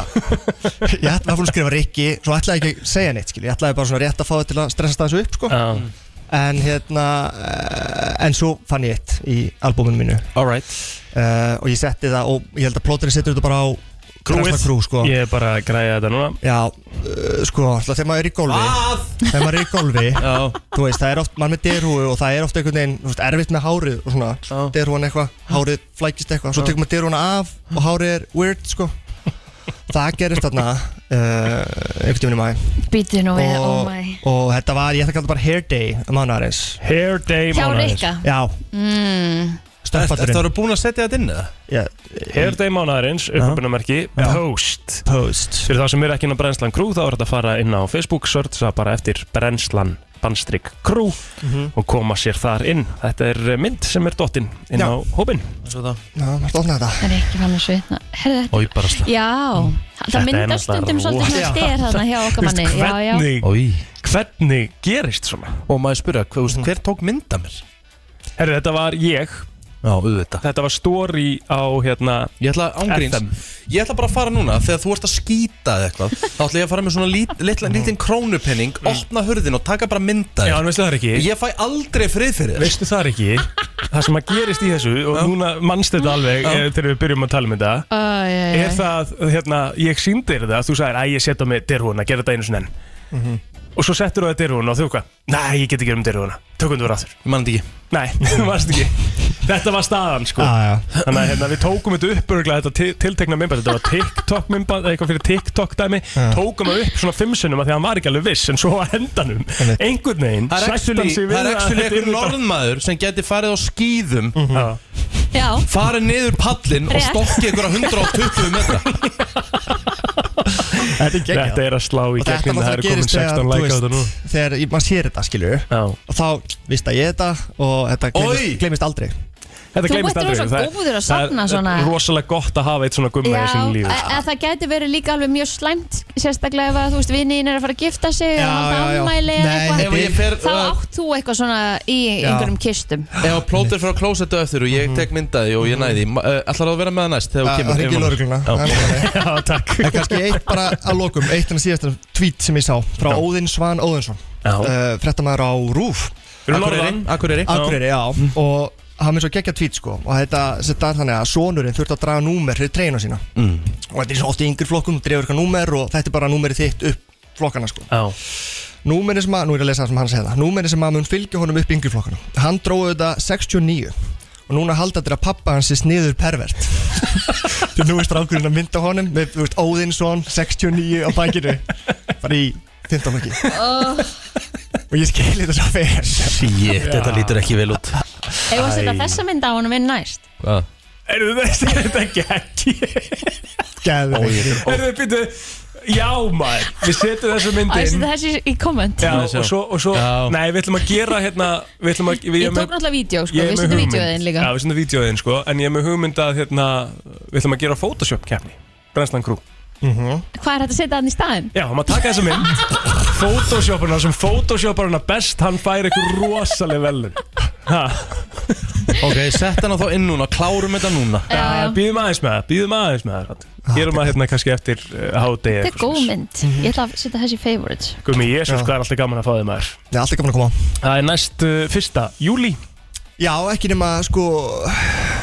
ég ætlaði- var búin að skrifa Rikki svo ætlaði ég ekki að segja neitt, skil, ég ætlaði bara svona rétt að fá þetta til að stressa það þessu upp, sko Já. En hérna uh, En svo fann ég eitt í albúminu mínu Alright. uh, Og ég setti það Og ég held að plóturinn setur þetta bara á Krúið. Krú, sko ég er bara að græja þetta núna Já, uh, sko, alltaf þegar maður er í golfi Ah! Þegar maður er í golfi Já. Þú veist, það er oft, maður er með derhúi og það er oft einhvern veginn þú veist, Erfitt með hárið og svona Já. Derhúan eitthvað, hárið flækist eitthvað Svo tekur maður derhúana af og hárið er weird, sko Það gerist þarna uh, Einhvern tíminn í maður Býtu nú við, oh og, my og þetta var, ég ætla að kalla bara hair day Mánaðarins Hair Day Hjá mánaðarins Rikka Já, mm. Eftir það stöðfatturinn eru búin að setja þetta inn eða? Já, Hair Day mánaðarins uppbunnamerki Já. Post post Fyrir þá sem er ekki inn á Brennslan Crew þá er þetta að fara inn á Facebook searcha bara eftir Brennslan Bandstrik Crew Mhm. og koma sér þar inn Þetta er eh, mynd sem er dottinn inn Já. á hópin Svo það. Já, maður stofna þetta Rikki fann að svitna Herðu þetta Oj, bara slag Já, það Mm. Þetta er myndast náttúrulega stundum svolítið rosa. svona styr þarna hjá okkar manni Þú Já, já, hvernig, Oj. hvernig gerist svona? Og maður spyrja, hver, mm. hver tók mynda mér? Herri, þetta var ég Já, auðvitað Þetta var story á hérna Ég ætla ángríns FM. Ég ætla bara að fara núna Þegar þú ert að skýta eða eitthvað Þá ætla ég að fara með svona lít, litla, lítinn krónupenning Opna hurðin og taka bara mynda Já, en veistu það er ekki Ég fæ aldrei frið fyrir þér Veistu það er ekki Það sem að gerist í þessu Og núna mannst þetta alveg Já. eh, Þegar við byrjum að tala um þetta Æ, æ, æ. Er það, hérna, ég sýndi þér það Þú sagðir, æ, ég setja mig derhúna, gera þetta einu sinni enn Mhm. Og svo settur þú það derhúna og þú hvað Nei, ég get ekki verið um derhúna, tökum þú ráður Ég mann þetta ekki Nei, þú varst ekki Þetta var staðan, sko Já, já. Þannig að hérna, við tókum þetta upp örgulega þetta til- tiltekna mymband, þetta var TikTok mymband eitthvað fyrir TikTok dæmi, tókum það upp svona fimm sinnum að því að hann var ekki alveg viss en svo að hendanum, einhvern veginn Það er sættan actually, sig við það er að actually þetta Mm. einhver yrði bara- norðmaður sem geti farið á skýðum Já. Já, farið niður pallin og Rétt. stokki einhverja 120 metra Þetta er geggjað. Þetta er að slá í Og þetta gegnin það náttúrulega er komin gerist 16 þegar, like á þú þetta nú veist, þegar ég- maður sér þetta, skilju Já. Og þá vist að ég þetta og þetta Oj! gleymist, gleymist aldrei Þetta Þú gleymist ert aldrei rosa það er- góður að það er- safna svona. er Rosalega gott að hafa eitt svona gumma já í sín lífi e- e- það gæti verið líka alveg mjög slæmt sérstaklega ef að þú veist vinnin er að fara að gifta sig og Já, já, já. halda ammæli eða Nei, eitthvað. þetta Ef ég fer þá uh, átt þú eitthvað svona í Já. einhverjum kistum Ef plótir frá klósetu eftir og ég tek myndaði og ég næði Ætlar þú að vera með það næst þegar þú Að kemur að hringja í Ef- laurugluna Já. Já, takk En kannski eitt bara að lokum Eitt en að síðast tweet sem ég sá Frá Já. Óðinn Svan Óðinsson Já. uh, Frettamæður á Rúf Fyrir Akureyri, norðan Akureyri Akureyri, já Og hann með svo geggja tweet sko Og þetta þetta er þannig að sonurinn þurfti að draga númer fyrir treyna sína mm. Mhm. Og þetta er svo oft í yngri flokkum Dreifur eitthvað númer og þetta er bara númerið þitt upp flokkana sko Já, Númerið sem að, nú er ég að lesa það sem hann segja það Númerið sem að mun fylgja honum upp í yngri flokkana Hann dróðu þetta 69 Og núna halda þetta að pappa hans er sniður pervert Því nú er strákurinn að mynda honum Með, þú veist, Óðinsson 69 á bækinu Bara í 15 ekki Og ég skil þetta svo fyrir Shit, þetta lítur ekki vel út Ef að setja þessa mynd á honum inn næst Hvað? eru þetta ekki Gæður Erðu, býttu Já maður, við setjum þessu Að myndin setja þessi í komment Já, Sjá. og svo, og svo Já. Nei, við ætlum að gera hérna Við ætlum að við Ég tók erum með- náttúrulega vídeo sko, ég er við með setjum hugmynd. vídeoðin líka Já, við setjum vídeoðin sko En ég er með hugmynd að hérna Við ætlum að gera Photoshop keppni Brennslan Crew Hvað er hægt að setja hann í staðin? Já, maður taka þessa mynd Photoshopparna sem Photoshopparna best Hann fær eitthvað rosaleg velun Ok, sett hana þá inn núna, klárum þetta núna Já, já, Býðum aðeins með það Býðum aðeins með það Rand. Gerum að hérna kannski eftir uh, hádegi þetta er góð mynd Ég ætla að setja þessi í favorites Gumi, jésus, Já. hvað er alltaf gaman að fá þig maður Það er alltaf gaman að koma á. Það er næst uh, fyrsta júli Já, ekki nema sko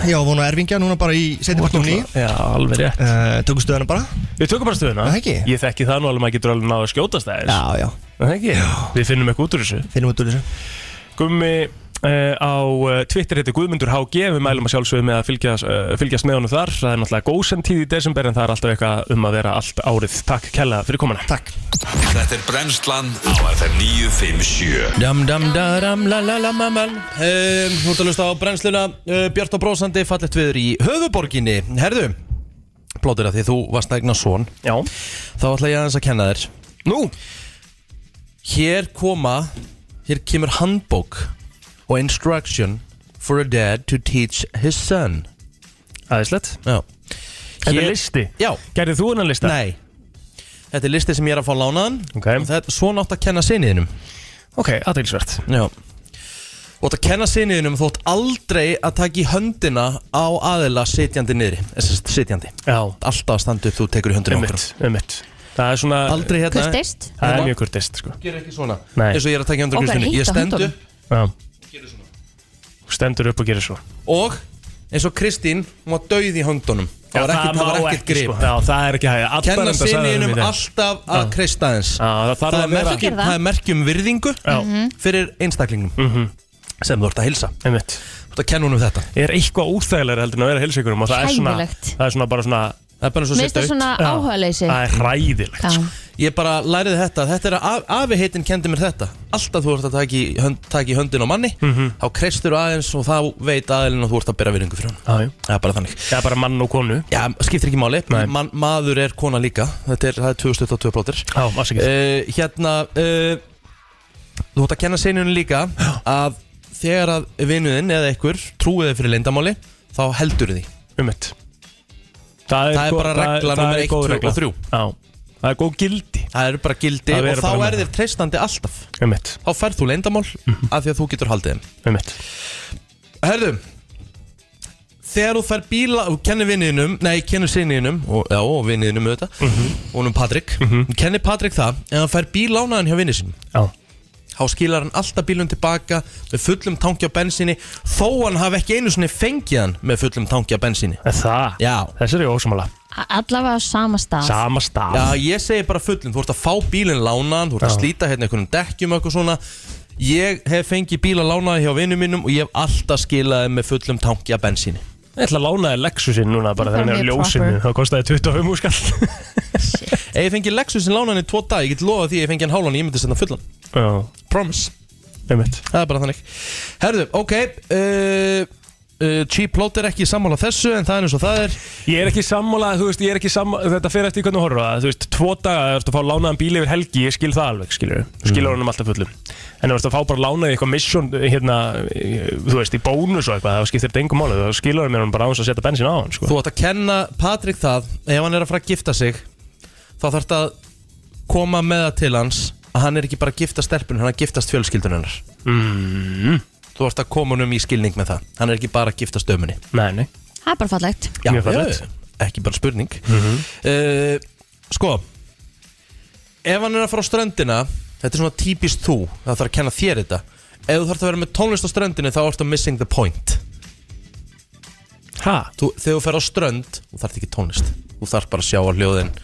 Já, vonu að erfingja núna bara í setjum partum ný Já, alveg rétt uh, Tökum stöðuna bara Við tökum bara stöðuna Það ekki? Ég þekki það nú alveg maður getur alveg náðu að skjótast það já, Það ekki? Við finnum eitthvað út úr þessu finnum við dúlisum Gummi uh, á uh, Twitter heitir Guðmundur HG Við mælum að sjálfsögum með að fylgjast, uh, fylgjast með honum þar Það er náttúrulega góðsend tíð í desember En það er alltaf eitthvað um að vera allt árið Takk Kella fyrir komuna Takk Þetta er Brennslan á FM 957 Dam dam da dam la la la ma ma Eh, Þú ert að lusta á brennsluna uh, Bjart og brósandi fallegt viður í höfuborginni Herðu, plótir að því þú varst að egna son Já Þá ætla ég aðeins að kenna þér Nú Hér koma, hér kemur handbók Og instruction for a dad to teach his son Æðislegt Já Þetta Hér- er listi Já, Gerðið þú hennan lista? nei Þetta er listi sem ég er að fá lánaðan Ok. Og þetta- Svona átt að kenna sinniðinum Ok, aðeinsvert Já Og þetta kenna sinniðinum þótt aldrei að taka í höndina á aðila sitjandi niðri Þessi sitjandi Já Alltaf að standa upp þú tekur í höndina okkur Ummitt Ummitt Það er svona Aldrei hérna Kurteist Það er mjög kurtist sko Gera ekki svona Nei. Eins og ég er að taka í höndina Ó, það er Kristínu. Ég heitt á stend höndunum. upp Já Þú Stendur upp og gerir svo Og eins og Kristín Hún var dauð í höndunum Það var ekkert, það var má ekkert grip sko. Já, það er ekki hæg Kenna sinniðinum alltaf að kreista aðeins Já, það þarf Það er að vera merkjum- Gerðu það. það er merkjum virðingu Já. Mm. Mhm. fyrir einstaklingum sem þú ert að hilsa Einmitt. Þú ert að kenna hún um þetta er eitthvað óþægilegur heldur en að vera hilsikurum og það er svona, Hræðilegt. það er svona bara svona Það er bara eins og að Mér finnst það setja svona Já. áhugaleysi það er hræðilegt Já. sko. Ég bara læriði þetta Þetta er að afi heitin kendi mér þetta Alltaf þú ert að taka í, hönd, taka í höndin á manni Mhm. Þá kreistur þú aðeins og þá veit aðeins og þú ert að bera virðingu fyrir hann Já, já. Það er bara þannig það er bara mann og konu Já, skiptir ekki máli Nei. Man, Maður er kona líka Þetta er, það er 2022 plótir já, afsakið. uh, Hérna uh, Þú ert að kenna seinunum líka Að þegar að vinuðinn eða einhver Trúið þið fyrir leindamáli Þá heldur því ummitt það Það er gó- bara regla það er númer eitt, góð tvö regla. og þrjú. já, það er góð gildi Það eru bara gildi Það er Og þá bara er með. þér treystandi alltaf ummitt, Mhm. Þá færð þú leyndamál Af því að þú getur haldið þeim ummitt Herðu þegar þú fær bíla þú kennir vinninum, nei, kennir sinninum og, já, og vinninum auðvitað mm Mhm. honum Patrik, mm kennir Patrik það en hann fær bílánaðan hjá vinnin sinum Já, þá skilar hann alltaf bílun tilbaka með fullum tankja á bensinni þó hann hafi ekki einu svona fengið hann með fullum tankja á bensinni Er það Já. Þessi er ég ósamála A- allavega á sama stað Sama stað Já, ég segi bara fullum, þú ert að fá bílinn lánaðan, þú ert að Já. slíta hérna einhvernum dekkjum og eitthvað svona Ég hef fengið bíla lánaði hjá vinnum mínum og ég hef alltaf skilaði með fullum tanki af bensinni Ég ætla að lána þér Lexusin núna Það er bara þegar hann er á mjög ljósinu proper. Það kostiði 25 úrskall Ef ég fengið Lexusin lánaðan í tvo dag, ég get lofað því að ég fengi hann hálan, ég myndi setna fullan Já, Promise einmitt Það er bara þannig Herðu, ok uh, uh, Cheap Plot er ekki sammála þessu en það er eins og það er Ég er ekki sammála, þú veist, ég er ekki sammála Þetta fyrir eftir hvernig þú horfir á það, þú veist, tvo daga Þú ert að fá lánaðan bíl yfir helgi, ég skil það alveg, skilur Þú Mm. skilur honum alltaf fullum En þú ert að fá bara lánaði eitthvað mission Hérna, þú veist, í bónus og eitthvað Það skiptir þetta engum máli, þú skilur honum bara á hans að setja bensin á hann, sko Þú ætti að kenna Patrik það ef hann er að fara að gifta sig þá þarf það að koma með það til hans að hann er ekki bara að gifta stelpun hann er að giftast fjölskyldun hennar Mhm. mm. Þú ætti að koma honum í skilning með það hann er ekki bara að giftast dömunni Nei, nei, það er bara fallegt Já, Mjög fallegt. já, Mhm. já, ekki bara spurning uh, Sko Ef hann er að fara á ströndina Þetta er svona típist þú Það þarf að kenna þér þetta Ef þú þarf að vera með tónlist á ströndinu þá ertu missing the point ha, þú, Þegar þú fer á strönd Þú þarf ekki tónlist Þú þarf bara að sjá á hljóðin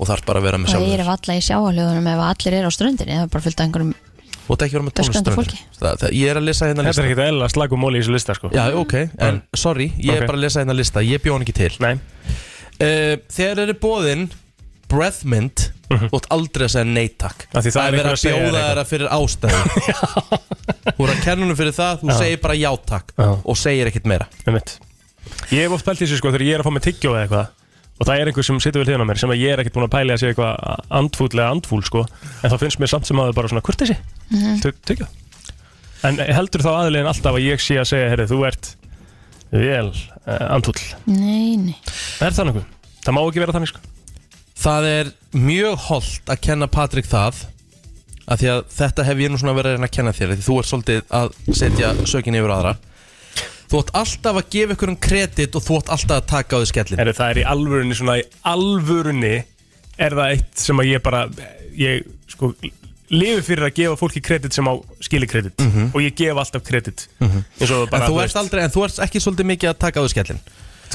Og þarf bara að vera með og ég er sjálfur valla í sjáalöðunum ef allir eru á ströndinni það er bara fyllt af einhverjum Þú ætti ekki að vera með tónlist á Öskrandi ströndinni. það, það, Ég er að lesa hérna þetta lista er ekkit eðla slagum móli í þessu lista, sko Já, ok, en sorry, ég er Ok. bara að lesa hérna lista Ég bjóð hann ekki til Nei, uh, Þegar eru bóðin breath mint Þú ætti aldrei að segja nei takk Mhm. Af því það er verið einhver að að segja bjóða þér þeirra fyrir ástæðu Þú er að kennunum fyrir það Þú segir bara já takk Já. Og segir ekkit meira einmitt Ég hef oft pælt í þessu, sko, þegar ég er að fá mig tyggjó eða eitthvað Og það er einhver sem situr við hliðina á mér sem að ég er ekkert búin að pæli að sé eitthvað andfútlega andfúl sko. En þá finnst mér samt sem aður bara svona kurtesi Tyggja En eh, heldur þá aðlegin alltaf að ég sé að segja Herri, þú ert vel uh, andfúll nei, nei Er það nokkuð? Það má ekki vera þannig sko Það er mjög holdt að kenna Patrik það að því að þetta hef ég nú svona verið að reyna að kenna þér af því þú ert svolítið að setja sökin yfir á aðra Þú átt alltaf að gefa ykkur um kredit og þú átt alltaf að taka á því skellin Herri, það er í alvörunni svona í alvörunni Er það eitt sem að ég bara Ég sko lifi fyrir að gefa fólki kredit sem á skili kredit og ég gef alltaf kredit eins Mhm. og En bara þú veist, ert aldrei, en þú ert ekki svolítið mikið að taka á því skellin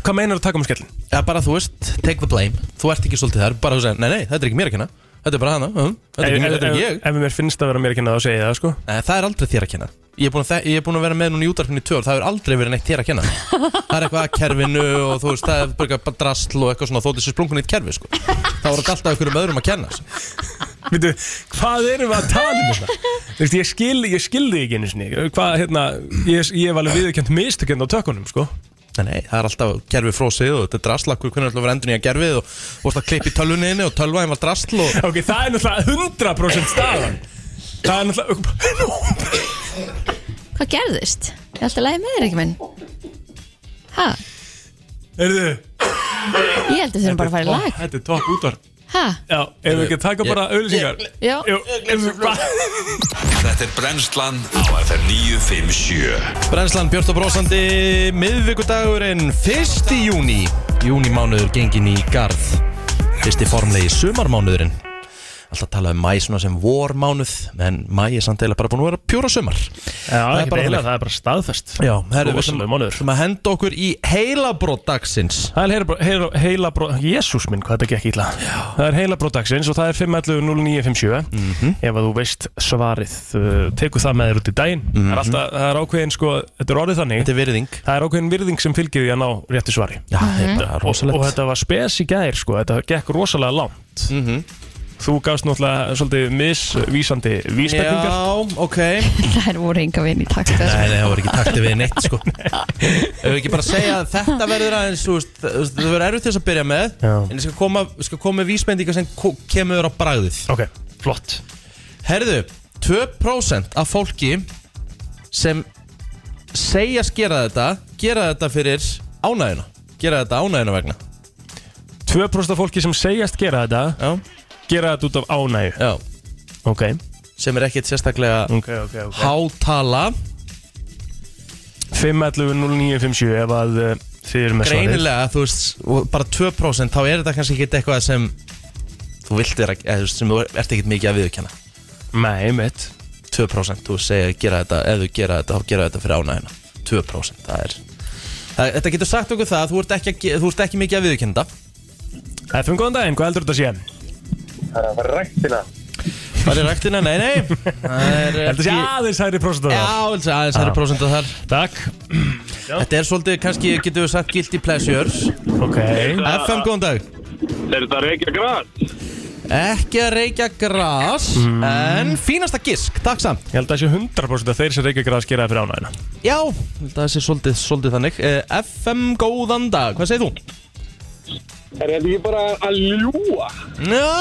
hvað meinar að taka um skellin? Eða bara þú veist, take the blame Þú ert ekki svolítið þar, bara þú segir, nei nei, þetta er ekki mér að kenna Þetta er bara hana, uh, þetta er ekki, mér, þetta er ekki ef, ég ef, ef mér finnst að vera mér að kynna þá segi ég það sko Nei, Eh, það er aldrei þér að kenna Ég er búin að, þe- ég er búin að vera með núna í útarpinu í tvö ár Það er aldrei verið neitt þér að kenna Það er eitthvað að kerfinu og þú veist Það er bara eitthvað drasl og eitthvað svona Þó þessi splungun eitt kerfi sko Það voru alltaf ykkur um öðrum að kenna sko. Veitu, hvað erum við að tala um þetta? Þú veist, ég skil, ég skil þig ekki einu sinni Hvað, hérna, ég, ég hef alveg viðurkjönd mistökjönd á tökunum, sko Nei, nei, það er alltaf kerfi frósið og þetta er drasl Akkur hvernig alltaf verið endur nýja kerfið og þú veist að klippa í tölvunniðinni og tölvaðin var drasl og Ok, það er náttúrulega 100% staðan Það er náttúrulega hvað gerðist? ég ætla að lægi með þér ekki minn ha, Erðu, ég held að við þurfum bara að fara í lag þetta er topp útvar ha, Já, ef við ekki að taka bara auðlýsingar já, Jú, erðu, hvað? Þetta er Brennslan á FM 957 Brennslan Björn og Brósandi miðvikudagurinn 1. júni Júnimánuður gengin í garð Fyrsti formlegi sumarmánuðurinn Alltaf talað um mæ svona sem vormánuð En mæ er samt eða bara búin að vera pjóra sumar Já, það bara þannig. það er bara staðfest Já, herru, við Rosalega mánuður. ætlum að henda okkur í heilabrót dagsins Það er heila, heila, heila bró... Jésús minn, hvað þetta gekk illa Það er heila brótagsins og það er 511-0957 Mhm. Ef að þú veist svarið uh, Teku það með þér út í daginn það, er alltaf, það er ákveðin, sko, þetta er orðið þannig Mhm. Þetta er virðing Mhm. Það er ákveðin virðing sem fylgir því að ná réttu svari Já, þetta er Og rosalegt þetta var spes í gær, sko Þetta gekk rosalega langt Mhm. Þú gafst náttúrulega svolítið misvísandi vísbendingar Já, ok þær voru enga vinn í takt þessu. Nei, nei, það voru ekki taktið við neitt sko Ef við ekki bara segja að þetta verður aðeins þú veist, þú veist, Það verður erfitt til þess að byrja með Já. En ég skal koma, skal koma með vísbendingar sem ko- kemur á bragðið Ok, flott Herðu, 2% af fólki sem segjast gera þetta gera þetta fyrir ánæðina gera þetta ánæðina vegna 2% af fólki sem segjast gera þetta Já, Gera þetta út af ánægju já Ok, sem er ekkert sérstaklega ok, ok, ok hátala 511-0957 ef að uh, Þið eru með svarið greinilega, þú veist, og bara 2% þá er þetta kannski ekkert eitthvað sem þú vilt vera, eða þú veist, sem þú ert ekkert mikið að viðurkenna Nei, mitt 2% þú segir gera þetta, ef þú gera þetta þá gera þetta fyrir ánægina 2% það er það, þetta getur sagt okkur það, að þú ert ekki, að ge- þú ert ekki mikið að viðurkenda FM, góðan daginn, hvað heldur þetta að sé? það er ræktina, nei, nei það er ekki Heldur þetta að sé aðeins hægri prósentu Já, þá? alveg aðeins hæri Já. prósentu þar Takk Þetta er svolítið, kannski getur við sagt guilty pleasures Ok FM, góðan dag Er þetta reykja grænt? Ekki að reykja gras Mm. En fínasta gisk, takk samt Ég held að það sé 100% að þeir sem reykja græs gera það fyrir ánægina Já, þetta sé svolítið, svolítið þannig Eh, FM, góðan dag, hvað segir þú? Er þetta ekki bara að ljúa? Já,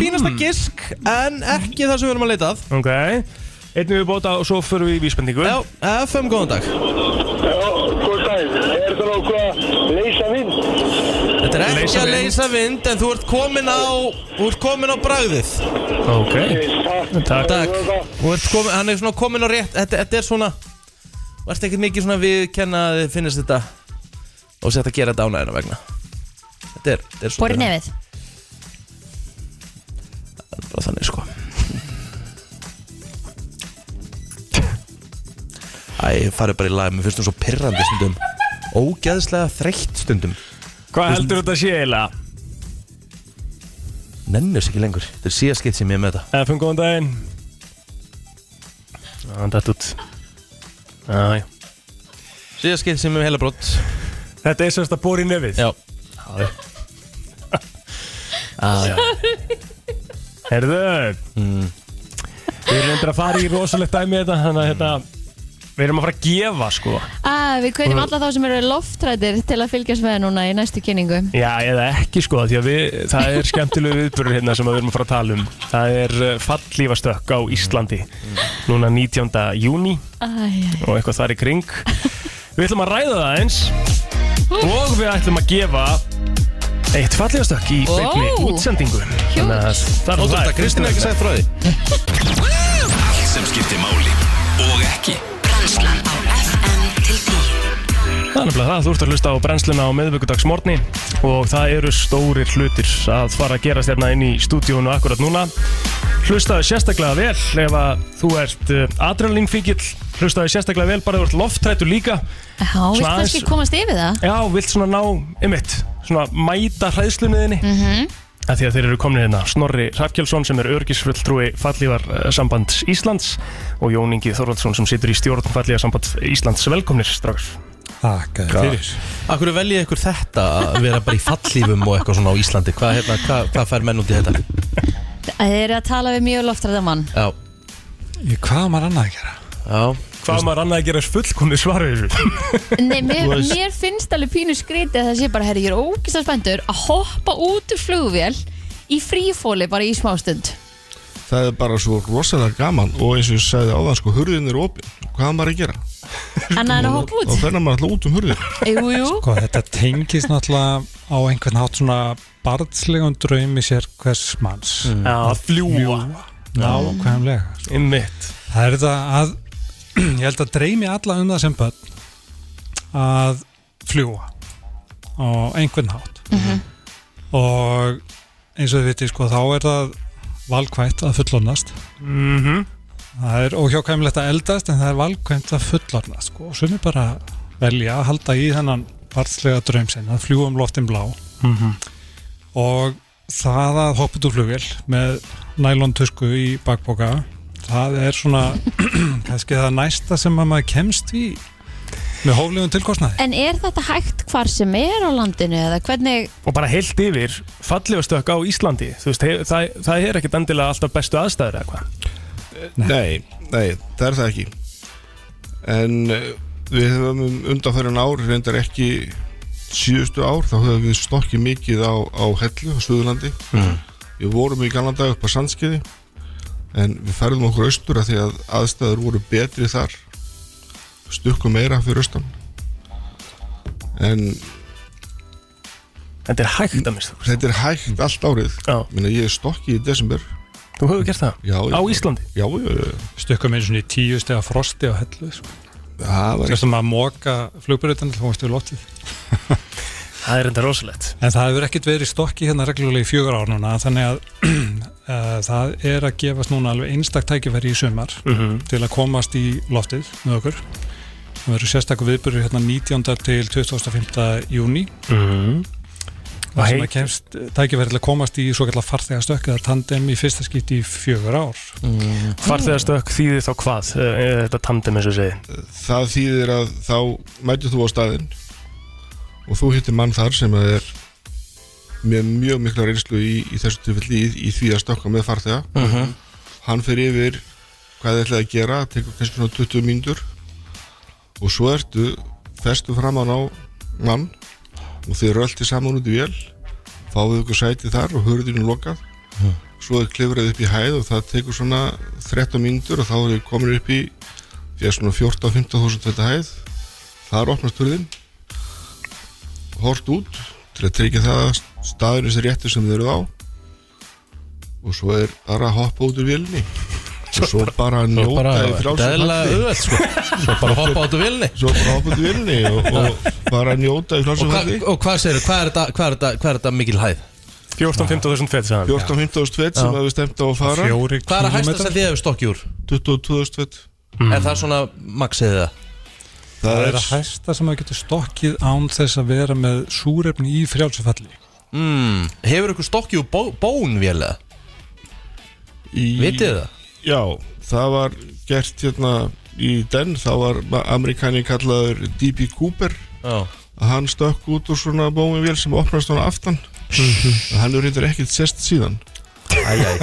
fínasta gisk En ekki það sem við erum að leita að Ok Einn við bóta og svo förum við í vísbendingu Já, FM, góðan dag Já, góð dag. Er þetta nokkuð að leysa vind? Þetta er ekki Leysa að vind. leysa vind En þú ert komin á, þú ert komin á bragðið Ok Takk Takk Þú ert komin, hann er svona komin á rétt Þetta, þetta er svona Þú ert ekkert mikið svona viðkenna að þið finnist þetta Og sett að gera þetta ánæðina vegna Þetta er, þetta er svona Borið nefið Bara þannig sko Æ, ég farið bara í lag Mér finnst hún svo pirrandi stundum Ógeðslega þreytt stundum Hvað heldur þetta að sé eiginlega? Nennur sér ekki lengur Þetta er síðast skeitt sem ég er með þetta FM, góðan daginn Já, hann dætt út Já, já Síðast skeitt sem ég er með heila brott Þetta er semst að bóra í nefið Já Herðu Mm. Við erum endur að fara í rosalegt dæmi þetta Þannig að hérna- þetta Við erum að fara að gefa sko ah, Við kveðjum alla þá sem eru loftrættir til að fylgjast með núna í næstu kynningu Já, eða ekki sko Því að við, það er skemmtilegu viðbörur hérna sem við erum að fara að tala um Það er uh, fallífastökk á Íslandi Núna 19. júni Æ, Og eitthvað þar í kring Við ætlum að ræða það eins Og við ætlum að gefa Eitt fallífastökk í beinni Ó. útsendingu að það er Ótrúlega, Kristín er ekki sagt frá því Allt sem skiptir máli og ekki Brennslan á FM til 10 Það er nefnilega það, þú ert að hlusta á brennsluna á miðvíkudagsmorni og það eru stórir hlutir að fara að gerast hérna inn í stúdíónu akkurat núna. Hlustaðu sérstaklega vel ef að þú ert uh, adrenalinfíkil, hlustaðu sérstaklega vel bara ef þú ert lofttrættur líka. Já, vilt Svona kannski aðeins- komast yfir það? Já, vilt svona ná, einmitt, svona mæta hræðslunniðinni. Mm -hmm. Því að þeir eru komin hérna Snorri Rafkjálsson sem er örgisfulltrúi fallífarsambands Íslands og Jón Ingi Þorvaldsson sem situr í stjórn fallífarsambands Íslands. Velkomnir strax. Takk fyrir Akkur veljið ykkur þetta að vera bara í fallífum og eitthvað svona á Íslandi? Hvað, hérna, hvað, hvað fær menn út í þetta? Það er að tala við mjög loftrættamann Já, Ég, hvað á maður annað að gera? já, Hvað maður annað að gera er fullkomni svarið þessu? Nei, mér, Þú veist- mér finnst alveg pínu skrítið að það sé bara, herri, ég er ógislega spenntur að hoppa út úr flugvél í frífóli bara í smástund Það er bara svo rosalega gaman og eins og ég sagði áðan sko, hurðin er opin Hvað á maður að gera? Annað en að hoppa Þá út ferna maður alltaf út um hurðin Jú, jú, Sko, þetta tengist náttúrulega á einhvern hátt svona barnslegum draumi sér hvers manns mm. Já, að fljúa Nákvæmlega Einmitt Það er þetta að ég held að dreymi alla um það sem börn að fljúa á einhvern hátt og eins og þið vitið sko þá er það valkvæmt að fullornast mm það er óhjákvæmilegt að eldast en það er valkvæmt að fullornast sko og sumir bara velja að halda í þennan vartslega draum sinn að fljúa um loftin blá og það að hoppa út úr flugvél með nælontusku í bakboka það er svona kannski það næsta sem að maður kemst í með hóflegum tilkostnaði en er þetta hægt hvar sem er á landinu eða hvernig, Og bara heilt yfir fallifastökk á Íslandi Þú veist, hef, það, það er ekkit endilega alltaf bestu aðstæður eða hvað Nei, Nei, það er það ekki. En eh, við höfum um undanferðin ár, reyndar ekki síðustu ár, þá höfum við stokkið mikið á, á Hellu, á Suðurlandi. Hmm. Við vorum í gamla dag upp á Sandskiði, en við færðum okkur austur að því að aðstæður voru betri þar. Stukku meira fyrir austan. En Þetta er hægt að mista þetta er hægt allt árið. Já, Minna, ég er stokkið í desember. þú hefur gert það Já, Á já, Íslandi já, já, já. stökkum einu svona í tíu stega frosti á hellu sko. Það var þessum að móka flugbreytan þá varstu í lotið Það er enda rosalegt En það hefur ekkert verið í stokki hérna reglulega í fjögur ár núna þannig að uh, það er að gefast núna alveg einstak tækifæri í sumar Mhm. til að komast í loftið með okkur Það verður sérstakku viðbyrður hérna 19. til 25. júni Mhm. Það sem að Heit- kemst tækifæri til að komast í svo kallar farþegastökk eða tandem í fyrsta skipti í fjögur ár mm. Farþegastökk þýðir þá hvað? Eh, Þetta tandem eins og segi það þýðir að þá mætir þú á staðinn og þú hittir mann þar sem að er með mjög mikla reynslu í, í þessu tilfelli í, í því að stokka með farþega Mhm. hann fer yfir hvað þið ætlaði að gera tekur kannski svona 20 mínútur og svo ertu festu framann á mann og þið rölti saman út í vél fáið ykkur sæti þar og hurðinu lokað Mhm. svo er klifrað upp í hæð og það tekur svona 13 mínútur og þá er þið komin upp í því að svona 14-15 þúsund þetta hæð þar opnast hurðin hort út til að tryggja það að staðurinn sé réttur sem þið eruð á og svo er bara að hoppa út úr vélni og svo bara að Svo njóta bara- í frjálsu þetta er eðlilega falli. auðvelt, sko. Svo bara hoppa út úr vélni. svo bara hoppa út úr vélni og, og bara að njóta í Og, frjálsum hva, falli og hvað segir, hvað er þetta, hvað er þetta, hvað er þetta mikil hæð? 14-15.000 fett sagði 14-15.000 fet sem Já. hefur stemt á að fara Hvað er að hægsta sem þið hefur stokki úr? 22.000 fet Er það svona maxið það? Það er að hæsta sem að getur stokkið án þess að vera með súrefni í frjálsufalli mm, Hefur ykkur stokki úr bó, bónvélega? Vitið þið það? Já, það var gert hérna í den, þá var amerikani kallaður D.B. Cooper Já. að hann stökk út úr svona bómi vél sem opnast hann aftan Mhm. og hann er reyndar ekkert sest síðan Æj, æj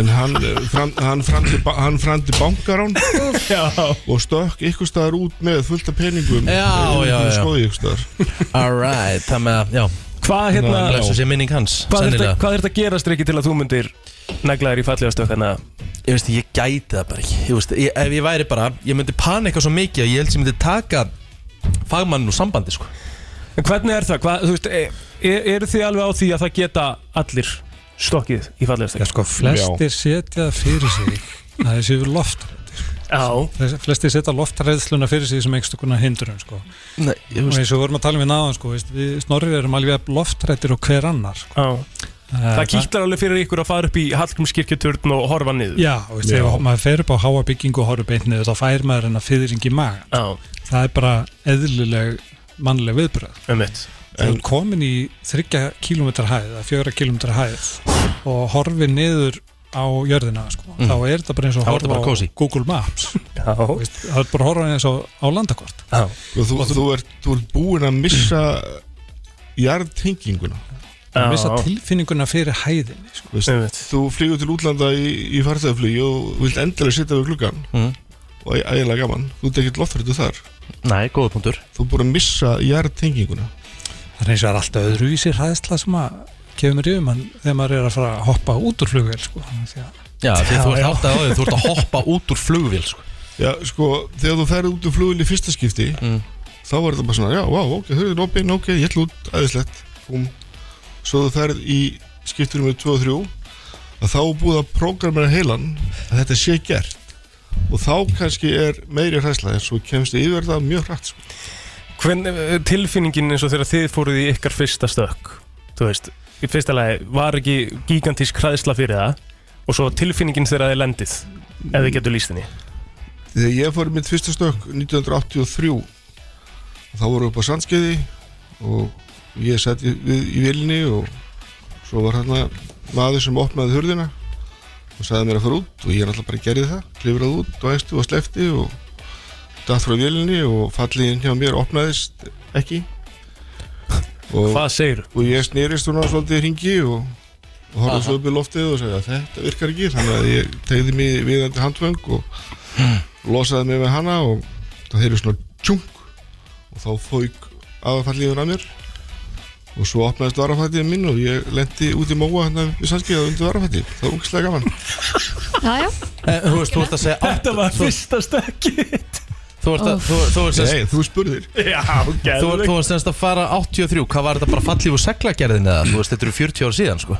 En hann, eh, fram, hann, framdi, ba- hann framdi bankarán og stökk ykkur staðar út með fullt af peningum Já, eh, í já, einhverju já. skógi ykkur staðar Alright, það með að, já Hvað hérna- Blessu sé minning hans, Hvað er þetta- sennilega hvað er þetta að gera strikki til að þú myndir negla þér í fallegastökk hérna? Ég veist, ég gæti það bara ekki Ég veist, ég, ef ég væri bara Ég myndi panika svo mikið að ég held sem myndi taka Fagmann úr sambandi, sko En hvernig er það? Hvað, þú veist, er, eru þið alveg á því að það geta allir stokkið í fallegastökk? Já, sko, flestir setja það fyrir sig að það séu loftræði sko. Þess- flestir setja loftræðsluna fyrir sig sem einhvers konar hindrun sko. Nei, ég og veist eins og við vorum að tala um við náðan sko, veist, við snorrið erum alveg jafn loftræddir og hver annar sko. Það kýtlar alveg fyrir ykkur að fara upp í Hallgrímskirkjuturn og horfa niður Já, og veist, ef maður fer upp á háa byggingu og horfur beintnið þá fær maður hennar fyrring í maga Já. það er bara eðlileg mannleg viðbröð Einmitt. Þegar þú ert komin í 3 km hæð að 4 km hæð og horfir niður á jörðina sko. Mm. þá er þetta bara eins og Þá er þetta horfa bara á kósí. Google Maps Já. Veist, það er bara að horfa eins og á landakort Já. og þú, þú, ert, þú ert búin að missa jarðtenginguna að missa tilfinninguna fyrir hæðinni sko. Veist, Um þú flýgur til útlanda í, í farþegaflugi og vilt endilega sitja við gluggan Mm. og æ- ægilega gaman, þú ert ekkert loftfyrirtu þar Nei, góða punktur Þú er búin að missa jarðtenginguna Það er eins og það er alltaf öðruvísi hræðsla sem að kemur yfir mann þegar maður er að fara að hoppa út úr flugvél sko. Því að- Já, því þú ert já. átt að áður Þú ert að hoppa út úr flugvél, sko Já, sko, þegar þú ferði út um flugil í fyrsta skipti þá var þetta bara svona, já, vá, ok, þau eru opinn, ok, ég ætla út, aðeinslegt um. Svo þú ferð í skiptunum með 2 og 3 að þá er búið að prógramera heilan að þetta sé gert og þá kannski er meiri hræsla en svo kemst ég yfir það mjög hrætt sko. Hvernig eh, tilfinningin eins og þegar þið fóruð í ykkar fyrsta stökk Þú veist, í fyrsta lagi var ekki gigantísk hræðsla fyrir það og svo tilfinningin þegar þið lendið ef þið getur lýst henni Þegar ég fór í mitt fyrsta stökk 1983 þá voru upp á sandskeiði og ég sett í, við- í vilni og svo var hérna maður sem opnaði hurðina og sagði mér að fara út og ég náttúrulega bara gerði það klifraði út og æstu og slefti og datt frá vilni og falliðin hjá mér opnaðist ekki og, Hvað segirðu? og ég snýrist svona svolítið hringi og, og horfði Aha. svo upp í loftið og sagði að þetta virkar ekki þannig að ég tegði mig viðandi handfeng og losaði mig með hana og það heyrði svona tjung og þá fók aðfallíðun að mér og svo opnaðist varafættið minn og ég lendi út í móa hérna við sannskeiða undir varafættið það var ungislega gaman Já, já Eh, Þú veist, þú ert að segja Þetta var fyrsta stökkið Þú ert að, þú, þú ert að Nei, þú spurðir Já, Þú, þú varst semst að fara 83, hvað var þetta bara fallið úr seglagerðin eða? Þú veist, þetta eru 40 ára síðan, sko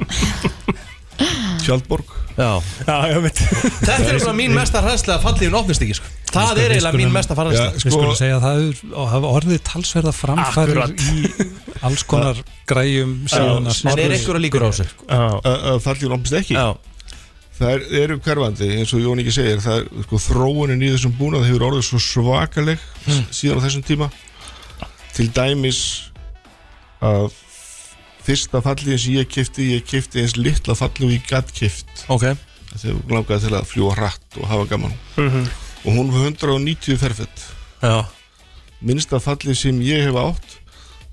Tjaldborg Já, já, já Þetta er bara mín mesta hræðsla að fallið úr opnist ekki, sko Það sko, er eiginlega mín mesta hræðsla Við skulum segja að það er- og hafa orðið talsverða framfærir Akkurat. í alls konar græjum síðan að En er einhverja líkur á þessu? Fallið lómpist ekki Já. Það eru hverfandi, eins og Jón ekki segir það er sko, þróunin í þessum búnað hefur orðið svo svakaleg s- síðan á þessum tíma til dæmis að fyrsta fallið sem ég kifti, ég kifti eins litla fallið og ég gatt kift okay. þegar ég langaði til að fljúa hratt og hafa gaman Mhm. og hún var 190 ferfett Já. minnsta fallið sem ég hef átt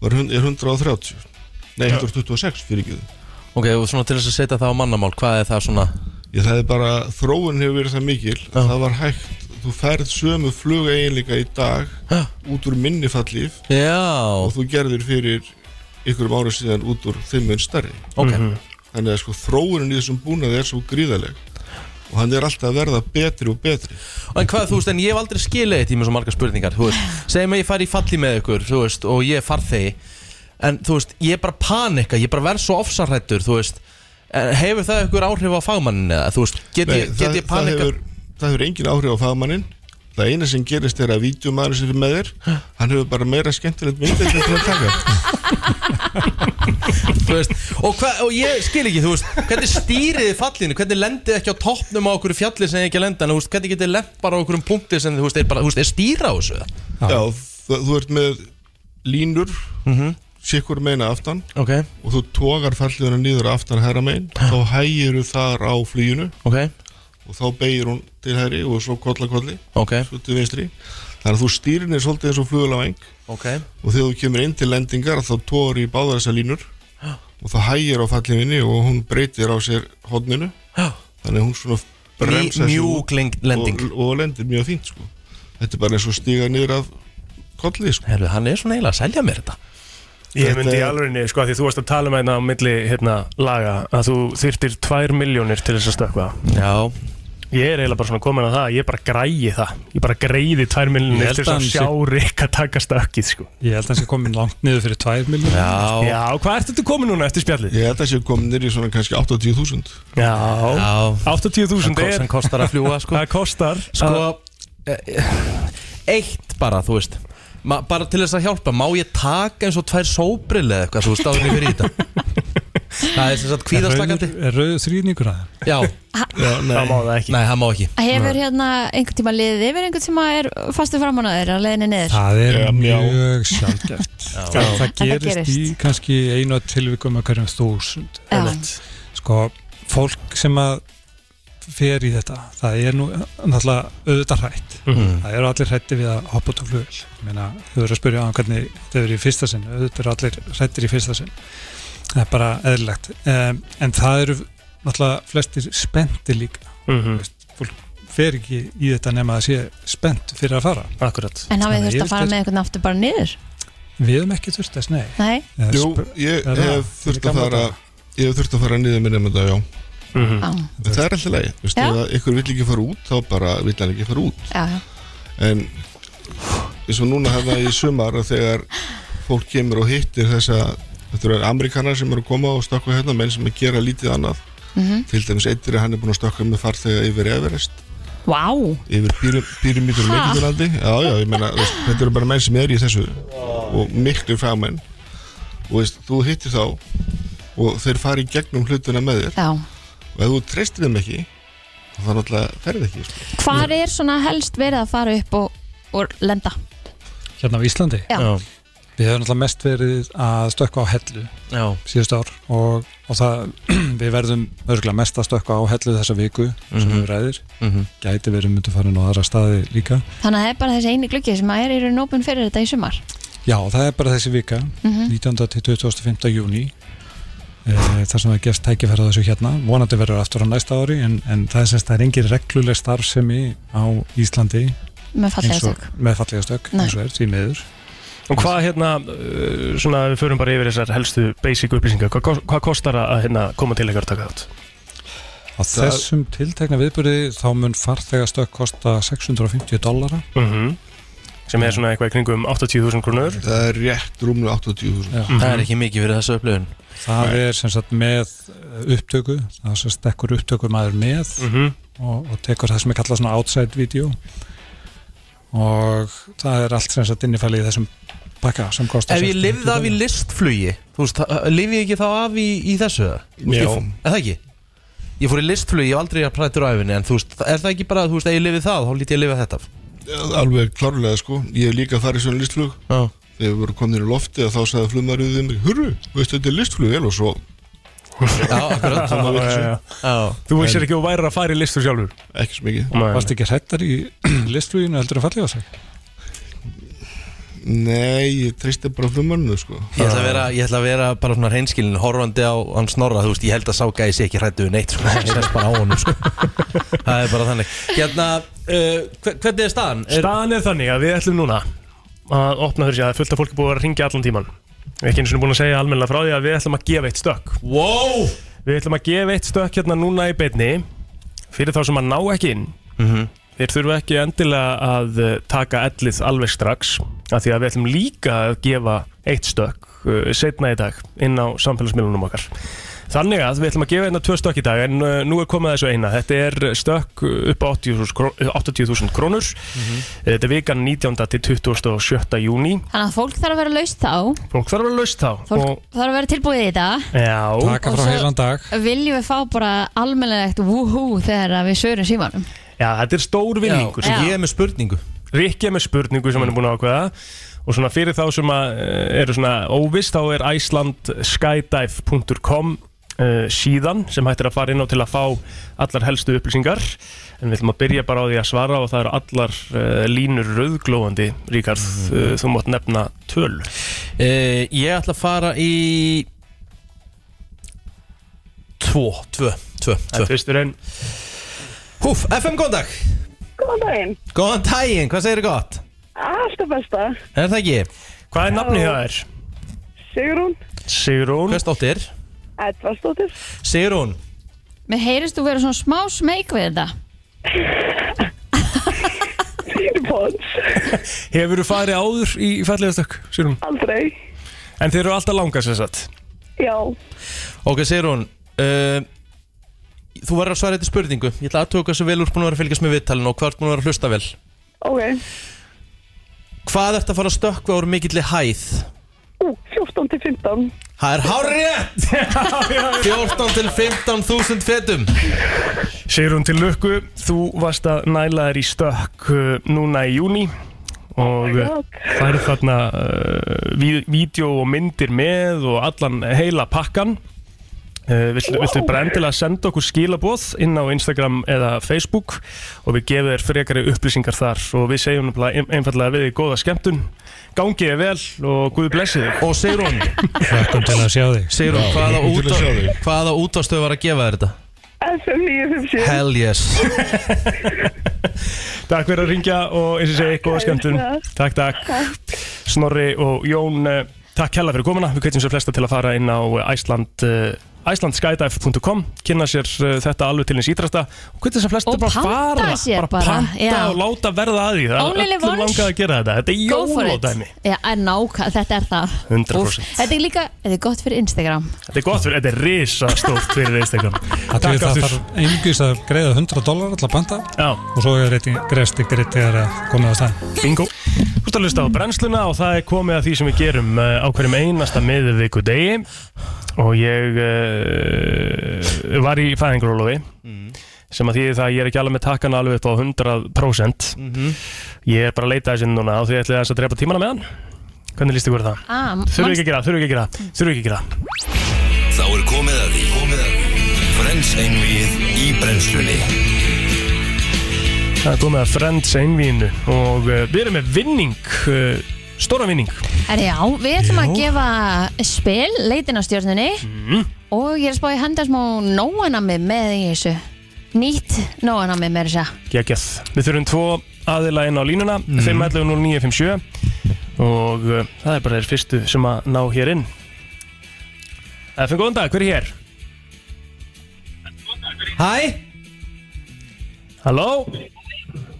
var, hun- er 130 nei, Já. 126 fyrir ekki Ok, og svona til þess að setja það á mannamál, hvað er það svona? Ég, það er bara, þróun hefur verið það mikil að það var hægt, þú færð sömu fluga í dag út úr minni fallíf Já. og þú gerðir fyrir ykkurum ára síðan út úr þeim mun stærri Ok. Mhm. þannig að sko þróunin í þessum búnaði er svo gríðaleg og hann er alltaf að verða betri og betri En hvað, þú veist, en ég hef aldrei skilið þetta í mjög svo margar spurningar, þú veist, segjum að ég fari í falli með ykkur, þú veist, og ég er farþegi, en þú veist, ég er bara panika, ég er bara verð svo ofsarrættur, þú veist, en hefur það ykkur áhrif á fagmannin eða, þú veist, get ég, get Nei, það, ég það, panika? hefur, það hefur engin áhrif á fagmannin Það eina sem gerist er að vídjumæður sem er með þér Hann hefur bara meira skemmtilegt myndið til að taka Þú veist, og, hva, og ég skil ekki, þú veist, hvernig stýrið þið fallinu, hvernig lendið þið ekki á toppnum á okkur fjalli sem þið ekki að lenda, en þú veist, hvernig getið þið lent bara á okkur um punkti sem þið, þú veist, er bara, þú veist, er stýra á þessu? Já, þú, þú ert með línur mm Mhm. -hmm. Sikkur meina aftan okay. Og þú togar falliðuna nýður aftan herra megin Þá hægiru þar á flýjunu okay. Og þá beigir hún til herri Og svo kolla kolli Ok. Svo til vinstri Þannig að þú stýrinir svolítið eins og flugulafeng Ok. og þegar þú kemur inn til lendingar þá tóður í báðar þessar línur og það hægir á fallifinni og hún breytir á sér hodninu þannig að hún svona bremsa sig Mjúk út leng- lending. og, og lendir mjög fínt sko. þetta er bara eins og stíga niður af kolli sko. Herru, hann er svona eiginlega að selja mér þetta Ég Þetta myndi í er- alvegni, sko, að því þú varst að tala um hérna á milli hérna, laga að þú þyrtir 2 miljónir til þess að stökkva Já Ég er eiginlega bara svona komin að það, ég bara græði það Ég bara greiði 2 Ég miljónir held til þess að að hann sjá sé- Rikka taka stökkið sko. Ég held að hann sé komin langt niður fyrir 2 miljón Já. Já, hvað ertu þetta komin núna eftir spjallið? Ég held að sé komin niður í svona kannski 80.000 Já, Já. 80.000 Hann er sem kostar að fljúa sko. Það kostar Sko, eitt bara, þú veist ma, Bara til þess að hjálpa, má ég taka eins og tvær sóbrill eða eitthvað Svo stáðinni fyrir í þetta Það er sem sagt kvíðaslakandi Er rauðu þrýningur að Já, Já það má það ekki Nei, það má ekki Hefur hérna einhvern tíma liðið yfir einhvern tíma er fastu framan á þeir að leiðinni niður? Það er Já, mjá. mjög sjálfgeft Já. Það Þetta gerist, í gerist. kannski einu að tilvikum að hverjum þúsund Já. Sko, fólk sem að fer í þetta, það er nú náttúrulega auðvitað hrætt Mhm. það eru allir hrætti við að hoppa út á flugil ég meina, þau eru að spyrja á hvernig þau eru í fyrsta sinn, auðvitað eru allir hrættir í fyrsta sinn það er bara eðlilegt um, en það eru náttúrulega flestir spennti líka Mhm. fólk fer ekki í þetta nema að sé spennt fyrir að fara Akkurat En hafið Þannig þurft að fara yfirleitt- með einhvern aftur bara niður? Við höfum ekki þurft þess, nei Nei? Eða Jú, sp- ég Er það? hef þurft Fyrir að gamla fara daga? ég hef þurft að fara niður minni með þetta, já Mhm. Mm. Já, En það er alltaf leið, veistu, Já. ef að ykkur vill ekki fara út þá bara vill hann ekki fara út já, já. en eins og núna hefða í sumar að þegar fólk kemur og hittir þessa þetta eru amerikanar sem eru að koma og stökkva hérna menn sem er að gera lítið annað Mhm. til dæmis eittir að hann er búin að stökkva með farþega yfir Everest, Vá! yfir pyra- píramítur og leikindurlandi, já já, ég meina þú veist, þetta eru bara menn sem er í þessu og miklu fagmenn og veist, þú hittir þá og þeir fara í gegnum hlutina með þér Já. og ef þú treystir þeim ekki þá náttúrulega ferð ekki sko. Hvar er svona helst verið að fara upp og, og lenda? Hérna á Íslandi Já. Já, Við höfum náttúrulega mest verið að stökkva á hellu já, síðust ár og, og það, við verðum örgulega mest að stökkva á hellu þessa viku sem Mhm. við ræðir mhm Gæti verið myndum farin á aðra staði líka Þannig að það er bara þessi eini gluggi sem að er í raun opinn fyrir þetta í sumar. Já, það er bara þessi vika Mhm. 19. til 25. júni Eh, þar sem það gefst tækifæra þessu hérna vonandi verður aftur á næsta ári en, en það er semst það er engin regluleg starfsemi á Íslandi Með fallega eins og- stök. með fallega stök Nei. eins og er því miður Og hvað hérna, uh, svona við förum bara yfir þessar helstu basic upplýsingar Hvað, kos- hvað kostar að hérna, koma til eitthvað að taka þátt? á þessum tiltekna viðbyrði þá mun farþega stök kosta 650 dollara -hmm. Sem er svona eitthvað í kringum 80.000 krónur það er rétt rúmlega 80.000 Já. Það er ekki mikið fyrir þessu upplöfun það er sem sagt með eh, upptöku það sem stekkur upptöku maður með mm -hmm. og, og tekur það sem er kallað svona outside video og það er allt sem sagt innifælið í þessum pakka sem kostar Ef ég 60 lifði af í listflugi Þú veist, lifði ég ekki þá af í, í þessu eða? Þú veist, Jó. ég- Er það ekki? Ég fór í listflugi, ég var aldrei að prættur á æfinni En þú veist, er það ekki bara, þú veist, ef ég lifið það Þá lítið ég lifið þetta af Alveg klárlega sko Ég hef líka farið í svona listflug Já. Þegar við vorum komin í lofti að þá sagði flugmaður við mig Hörru, veistu þetta er listflug Ég er og svo Já, akkurat. Svo Já, já, maður virkar já. sig. Þú vissir ekki um- að þú værir að fara í listu sjálfur Ekki sem ekki Varst ekki hrættar í listfluginu heldur en fallið á sig? Nei, ég treysti bara flugmannu sko Ég ætla að vera, ég ætla að vera bara svona reynskilin horfandi á hann snorra, þú veist, ég held að sá gæði sé ekki hrættu við neitt, sko, ég sest bara á honum, sko. Það er bara þannig. Hérna, uh, hver- hvernig er staðan? Er, Staðan er þannig að við ætlum núna að opna fyrir sig að fullt af fólki búið að vera að ringja allan tíman ekki eins og búin að segja almennilega frá því að við ætlum að gefa eitt stökk wow! Við ætlum að gefa eitt stökk hérna núna í beinni fyrir þá sem að ná ekki inn þeir þurfa ekki endilega að eh, taka ellið alveg strax af því að við ætlum líka að gefa eitt stökk uh, setna í dag inn á samfélagsmiðlunum okkar Þannig að við ætlum að gefa hérna tvö stökk í dag en uh, nú er komið að þessu eina þetta er stökk upp á 80.000 kró- 80.000 krónur þetta er vikan 19. til 27. júni Þannig að fólk þarf að vera laust þá fólk þarf að vera laust þá Fólk og, þarf að vera tilbúið í þetta já, Taka frá Og svo- heilan dag Viljum við fá bara almennilegt woohoo þegar að við sögurum símanum Já, þetta er stór vinningur Já. Ég er með spurningu Rikki er með spurningu sem hann er búin að ákveða Og svona fyrir þá sem að, eh, eru svona óvist Þá er icelandskydive.com uh, síðan Sem hættir að fara inn á til að fá allar helstu upplýsingar En við ætlum að byrja bara á því að svara Og það eru allar uh, línur rauðglóðandi Ríkard, mm. þú mátt nefna töl Uh, ég ætla að fara í Tvo, tvö, tvö, tvö Fyrsturinn Húf, FM, góðan dag Góðan daginn. Góðan daginn, hvað segir þið gott? Allt að besta. Er það ekki? Hvað er nafnið hjá þér? Sigrún, Sigrún Hvers dóttir? Edvarsdóttir. Sigrún Mér heyrist þú vera svona smá smeyk við þetta Bons. Hefur þú farið áður í fallega stökk, Sigrún? Aldrei. En þeir eru alltaf langar sér satt Já. Ok, Sigrún uh, Þú verður að svara þetta spurningu Ég ætla að tóka sem vel úr búin að vera að fylgjast með viðtalinu og hvað ert búin að vera að hlusta vel Ok. Hvað ert að fara að stökkva úr mikilli hæð? Ú, 14 til 15. Það er hárið 14 til 15.000 fetum Sigrún til lukku, þú varst að næla þér í stökk uh, núna í júni Oh og my það eru þarna uh, ví- vídeo og myndir með og allan heila pakkan uh, viltu, viltu bara endilega senda okkur skilaboð inn á Instagram eða Facebook og við gefum þér frekari upplýsingar þar og við segjum nefnilega ein- einfallega við þig góða skemmtun gangið er vel og guð blessi þig og Sigrún Kom til að sjá þig Sigrún, Já, hvaða, kom til að útvar, sjá þig. hvaða útvarstöð var að gefa þér þetta? FM 957. Hell yes Takk fyrir að ringja og eins og segi, góða skemmtun Takk, Takk. takk Snorri og Jón, eh, takk hella fyrir komuna Við kveitjum sér flesta til að fara inn á eh, Æsland Icelandskydive.com kynna sér eh, þetta alveg til eins ítrasta og hvernig þess að flesta Og bara panta fara sér bara, panta já. og láta verða að því það er Only öllum once. langað að gera þetta þetta er Go for it. jólódæmi Já, en nákvæm, þetta er það 100%. Úff, Þetta er líka, þetta er gott fyrir Instagram þetta er gott fyrir, þetta er risastórt fyrir Instagram Það Takk er það aftur. þarf einungis að greiða 100 dólar alltaf banda Já. og svo er reyting greiðst ykkur þegar að komið á stæðin Bingo Þú ert að hlusta á brennsluna og það er komið að því sem við gerum eh, á hverjum einasta miðviku degi og ég uh, var í fæðingarólofi sem að því það að ég er ekki alveg með takkana alveg upp á 100% Mhm. Ég er bara að leita þessi núna og því ég ætlaði aðeins að drepa tímana með hann Hvernig líst ykkur á það? ah, Þurfu manst- ekki að gera, það, þurfu ekki að gera, það, þurfu ekki að gera það. Þá er komið að því Komið að því Frens einvið í brennslunni Það er komið að Friends einvínu og uh, við erum með vinning, uh, stóra vinning Herri, Já, við ætlum að Já. gefa spil, leitin á stjórnunni og ég er að spá í henda smá nóanami með í þessu Nýtt nóanami með þess að segja. Gekkjað. Við þurfum tvo aðila inn á línuna mm. 511-0957 og uh, það er bara þeir fyrstu sem að ná hér inn FM, góðan dag, hver er hér? Hæ Halló?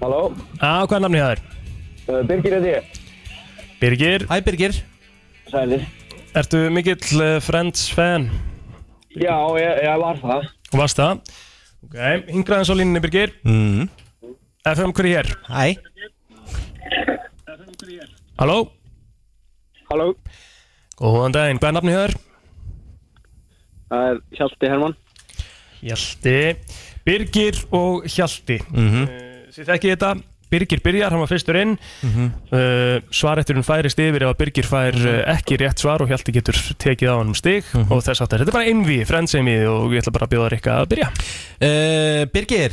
Halló? Á, hvað er namni það er? Uh, Birgir heiti ég. Birgir Hæ, Birgir Sælir. Ertu mikill uh, Friends fan? Já, ég, ég var það. Og varst það? Ok, hingraðins á línunni Birgir mm. FM, hver er hér? Hæ Halló, Halló, góðan daginn, hvað er nafni hér? það er Hjalti Hermann Hjalti Birgir og Hjalti mm -hmm. Þið þekkið þetta Birgir byrjar, hann var fyrstur inn mm -hmm. Svaretturinn færist yfir ef að Birgir fær eh, ekki rétt svar og Hjalti getur tekið á hann um stig og þess aftur, þetta er bara innví, frendseimi og ég ætla bara að bjóða Rikka að byrja uh, Birgir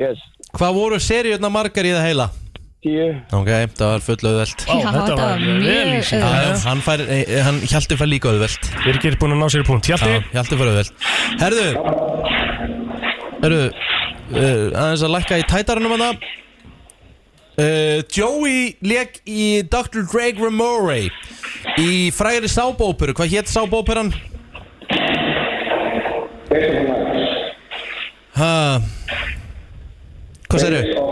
Yes Hvað voru seriðna margar í það heila? Tíu Ok, það var full auðvelt Vá, Já, þetta þetta var var vel mjög lýsing. Já, auðvelt. já, Hann fær, eh, hann Hjalti fær líka auðvelt Birgir er búin að ná sér í punkt, Hjalti Hjalti fær auðvelt Herðu Herðu uh, Aðeins að lækka í tætarunum hann uh, Joey leik í Dr. Drake Ramore Í fræri sábóperu Hvað hétt sábóperan? Ha, hvað segirðu?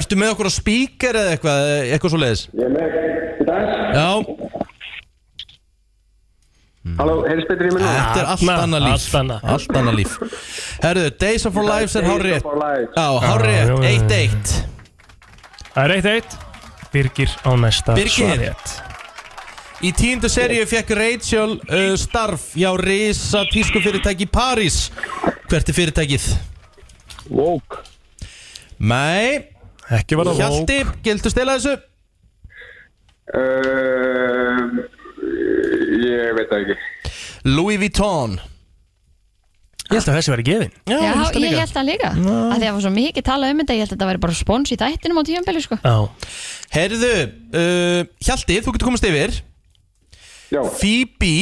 Ertu með okkur á speaker eða eitthvað, eh, eitthvað svo leiðis? Ég er með í dag Já, Halló, heyrðis betur í mér nú? þetta er allt annað líf Allt annað líf Herðu, Days of Our Lives er hár rétt Já, hár rétt, 1-1 Það er 1-1 Birgir á næsta Birgir svari. Í tíundu seríu fekk Rachel uh, starf hjá Risa tískufyrirtæki í París Hvert er fyrirtækið? Vogue Nei Ekki var það Hjalti, gildu stela þessu? Um, Ég veit það ekki Louis Vuitton Ég held að þessi væri gefin Já, ég held það líka að því að það var svo mikið talað um þetta ég held að þetta væri bara spons í þættinum á tíumbeli sko. Já Herðu, uh, Hjalti, þú getur komast yfir Já Phoebe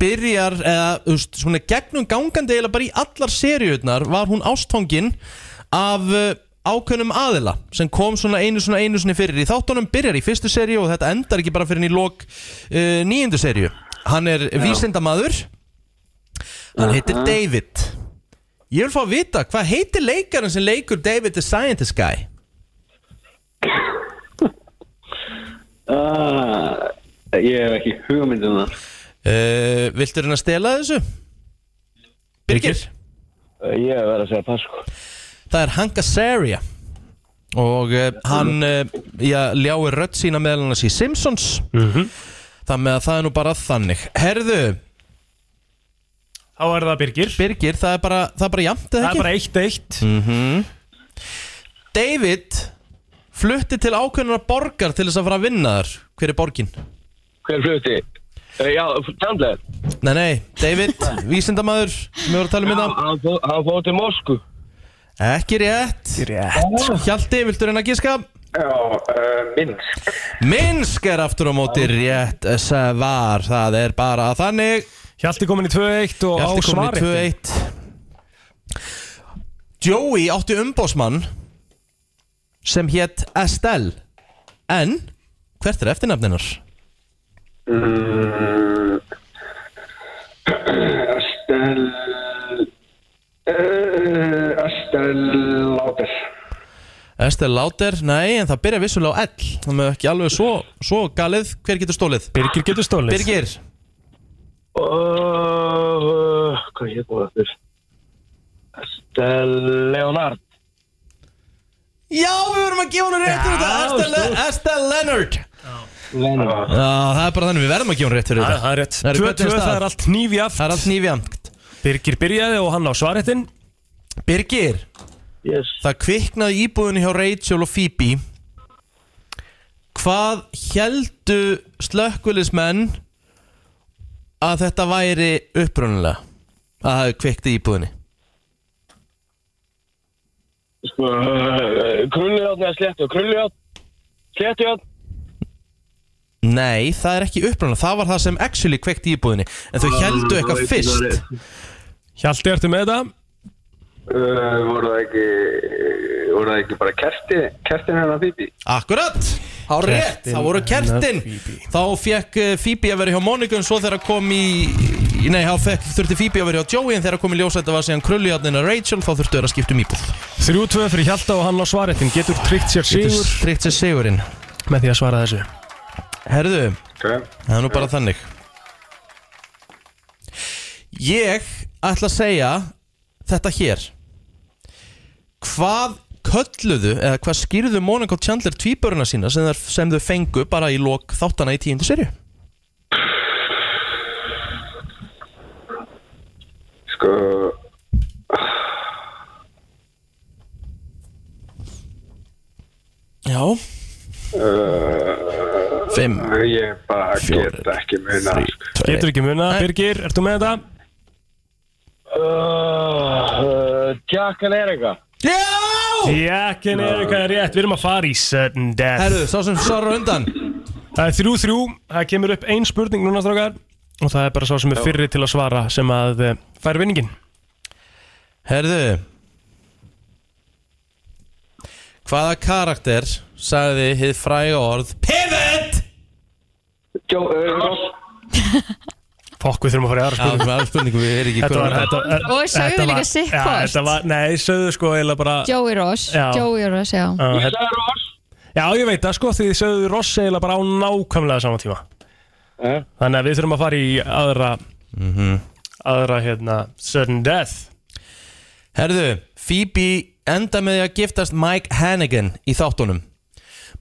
byrjar, eða, þú veist, svona gegnum gangandi eða bara í allar seriurnar var hún ástfangin af uh, ákveðnum aðila sem kom svona einu svona einu svona fyrir í þáttunum byrjar í fyrstu seríu og þetta endar ekki bara fyrir henni í lok uh, nýjundu seríu hann er vísindamaður hann heitir Aha. David ég vil fá að vita hvað heitir leikarinn sem leikur David the Scientist Guy Ah, Ég hef ekki hugmyndum það uh, viltu reyna að stela þessu? Birgir? Eh, Ég hef verið að segja pass sko Það er Hank Azaria og uh, hann uh, já, ljáir rödd sína meðal annars í Simpsons Mhm. Það með að það er nú bara þannig Herðu Þá er það Birgir Birgir, það er bara, það er bara jafnt eða Það ekki? er bara 1-1 mm -hmm. David flutti til ákveðnuna borgar til þess að fara að vinna þar Hver er borgin? Hver flutti? Eh, Já, Chandler Nei, nei, David, vísindamaður sem við vorum að tala um Já, þetta hann fó- hann fór til Moskú Ekki rétt Ekki rétt. Hjalti, viltu reyna að gíska? Já, uh, Minsk Minsk er aftur á móti rétt svar, það er bara þannig Hjalti komin í 2-1 og á Hjalti komin í 2-1 Joey átti umbósmann sem hétt Estelle en hvert er eftirnafninar? Mm. Astel eh, Astel López Estelle Lauder, nei en það byrja vissulega á L það með ekki alveg svo, svo galið hver getur stólið? Birgir getur stólið Birgir, oh, Hvað ég búið aftur? Astel Leonard já við vorum að gefa hún rétt fyrir þetta Estelle, Estelle Leonard Ah, Leonard Já, það er bara þannig, við verðum að gefa hún rétt fyrir Það þetta það er rétt Herru, hvernig 2-2, það staðan? er allt nýfjaft Það er allt nýfjaft Birgir byrjaði og hann á svarettin Birgir yes. Það kviknaði íbúðinu hjá Rachel og Phoebe Hvað heldu slökkvilismenn að þetta væri upprunalega að það hafi kvikt í íbúðinu sko, eh, Krullujátt eða sléttu Krullujátt Sléttujátt Nei, það er ekki upprunalega það var það sem actually kvikt í íbúðinu en þau heldu eitthvað fyrst Hjalti, ertu með þetta? eh, Uh, voru það ekki voru það ekki bara kerti kertin hennar Bibi Akkurat, á rétt, Kertin það voru kertin Þá fekk eh, Phoebe að vera hjá Monika en svo þegar kom í í- Nei, þá fekk, þurfti Phoebe að vera hjá Joey en þegar kom í ljósa þetta var síðan krullujarnina Rachel þá þurftu þeir að skipta um íbúð 3-2 fyrir Hjalta og hann á svarettin Getur tryggt sér Getur sigur tryggt sér sigurinn Með því að svara þessu Herðu, það er nú bara þannig Ég ætla að segja þetta hér Hvað kölluðu eða hvað skýrðu Monika og Chandler tvíböruna sína sem, þær, sem þau fengu bara í lok þáttana í tíundu serju? Sko eh, Já uh, Fimm Ég bara get ekki muna Getur ekki muna, Birgir, ert þú með þetta? uh, Jack and Erika Já Jackin Erika er rétt, við erum að fara í sudden death Herðu, sá sem svarar undan Það er þrjú þrjú, það kemur upp ein spurning núna strákar Og það er bara sá sem er Já. fyrri til að svara sem að eh, fær vinningin Herðu Hvaða karakter sagði hið fræga orð PIVOT Jó, eh, uh, Fokk, við þurfum að fara í aðra Já, spurningu við aðra spurningu, við erum ekki Þetta var, komin þetta, að- þetta, Og sögðu þetta líka var- sitt Já, hvort. Þetta var, nei, sögðu sko eiginlega bara Joey Ross Já. Joey Ross, já Uh, ég sagði Ross Já, ég veit það sko, því þið sögðu Ross eiginlega bara á nákvæmlega saman tíma Þannig að við þurfum að fara í aðra aðra hérna Sudden Death Herðu, Phoebe enda með því að giftast Mike Hannigan í þáttunum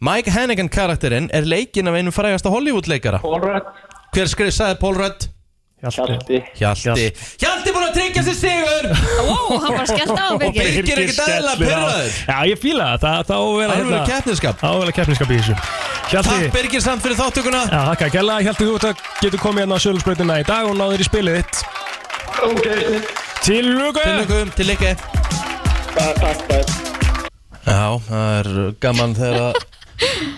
Mike Hannigan karakterinn er leikinn af einum frægasta Hollywood leikara Paul Rudd Hver skrið sagði Paul Rudd? Hjalti Hjalti Hjalti búin að tryggja sér sigur Ó, hann var skellt á Og Birgir Birgir er ekkert eðlilega skellir á. pirraður. Já, ég fíla það, það, það á að vera Það á að hérna, vera keppnisskap Það á að vera keppnisskap í þessu Hjalti Takk Birgir samt fyrir þáttökuna Já, þakka, gæla, Hjalti, þú ert að getur komið hérna á Sölusbreytina í dag og náður í spilið þitt Ok Til lugu Til lugu, til lugu Takk, takk Já, það er gaman þegar að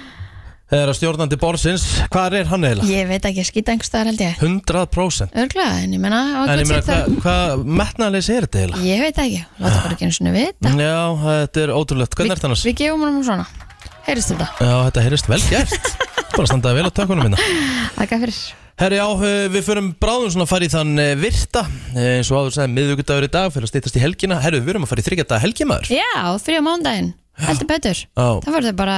þegar að stjórnandi borðsins Hvar er hann eiginlega? Ég veit ekki, skýta einhverstaðar held ég 100% Örglega, en ég menna En ég meina, hvað hva metnaðleis er þetta eiginlega? Ég veit ekki, láta bara ekki einu sinni við Já, þetta er ótrúlegt, Mm, hvernig er þetta annars? Við gefum honum svona Heyrist þetta Já, þetta heyrist vel gert Bara standaði vel á tökunum hérna. minna Þakka fyrir Herri já, eh, við förum bráðum svona að fara í þann eh, virta Eh, eins og áður sagði miðvíkudagur í dag fyrir að stýttast í helgina Herri, við erum að fara í þryggjadaga helgimaður Já, frí á mándaginn, heldur betur Já. Það verður bara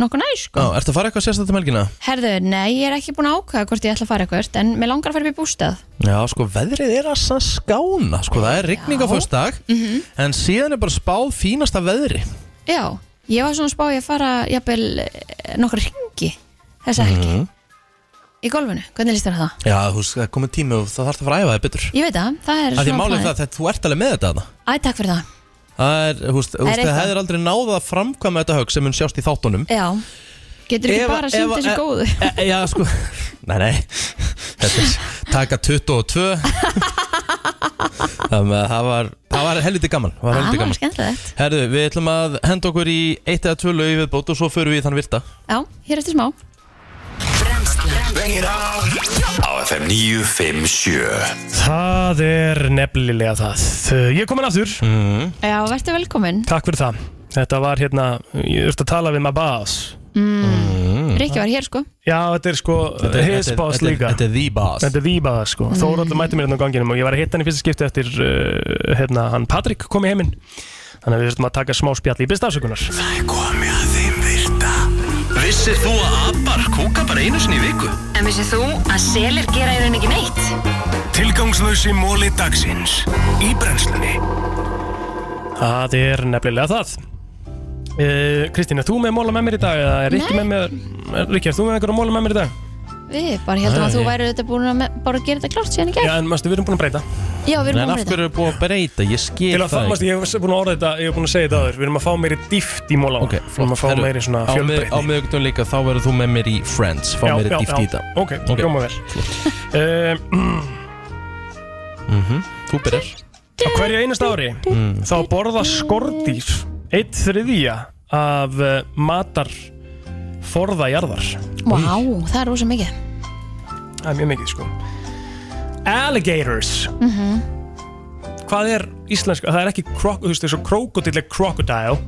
nokkuð næ sko Já, ertu að fara eitthvað sérstætt um helgina? Herðu, nei, ég er ekki búin að ákvæða hvort ég ætla að fara eitthvað En mér langar að fara upp í bústað Já, sko, veðrið er að sa- skána sko, það er rigning á föstudag Mhm. en síðan er bara spáð fínasta veðri Já, ég var svona að spá ég að fara jafnvel eh, nokkra ringi Þessa helgi Mhm. í golfinu, hvernig líst þér á það? Já, þú veist, það er komið tími og það þarf að fara að æfa þig betur Ég veit það, það er Það er svona málið það að þú ert alveg með þetta þarna. Æ, takk fyrir það Það er, þú veist, þú veist, Er það eitthvað? hefur aldrei náða að framkvæma þetta högg sem mun sjást í þáttunum Já, getur ekki Ef- bara sínt ef- þessu e- góðu e- Já, sko Nei, nei, þetta er taka 22 Þannig að það var, það var helviti gaman Það var Það helviti var gaman Ah, skemmtilegt Herðu, við ætlum að henda okkur í eitt eða tvö lög viðbót og svo förum við í þann virta Já, hér eftir smá Á FM 957 Það er nefnilega það Ég er komin aftur mm. Já, verður velkomin Takk fyrir það Þetta var hérna, ég þurfti að tala við maður bás mm. Rikki var hér sko Já, þetta er sko Þetta er- his þetta er- boss þetta er- líka þetta er the boss. Þetta er the boss sko Mm. Þóraldur mætti mér hérna á ganginum og ég var að hitta hann í fyrsta skipti eftir uh, hérna, hann Patrik kom í heiminn Þannig að við þurfum að taka smá spjall í bestafsökunar Það er komið að þeim virta Vissir þú að abar kúka bara einu sinni í viku? En vissið þú að selir gera í rauninni ekki neitt? Tilgangslösi móli dagsins Í brennslunni Það er nefnilega það uh, Kristín, er þú með móla með mér í dag? Eða er Rikki Nei. með mér? Rikki, er þú með einhverja móla með mér í dag? Við bara heldum Nei. að þú væri þetta búin að me- bara gera þetta klart síðan í gerð Já, en mástu, við erum búin að breyta Já, við erum búin að breyta. er búin að breyta? Ég skil Til að það það, mástu, ég hef búin að orða þetta, ég hef búin að segja þetta aður Við erum að fá meiri dýft í móla okay, Við erum að fá Herru, meiri svona á mið- fjölbreytni Á miðugtum líka, þá verður þú með mér í Friends Fá meiri dýft í það Ok, okay. hljóma vel um, Þú byrjar Á hverju einast ári Mm. þá borða skordýr eitt þriðja af uh, matar forða jarðar Vá, það er rosa mikið Það er mjög mikið sko Alligators mm -hmm. Hvað er íslenska? Það er ekki krok, þú veist, þessu krokodil er crocodile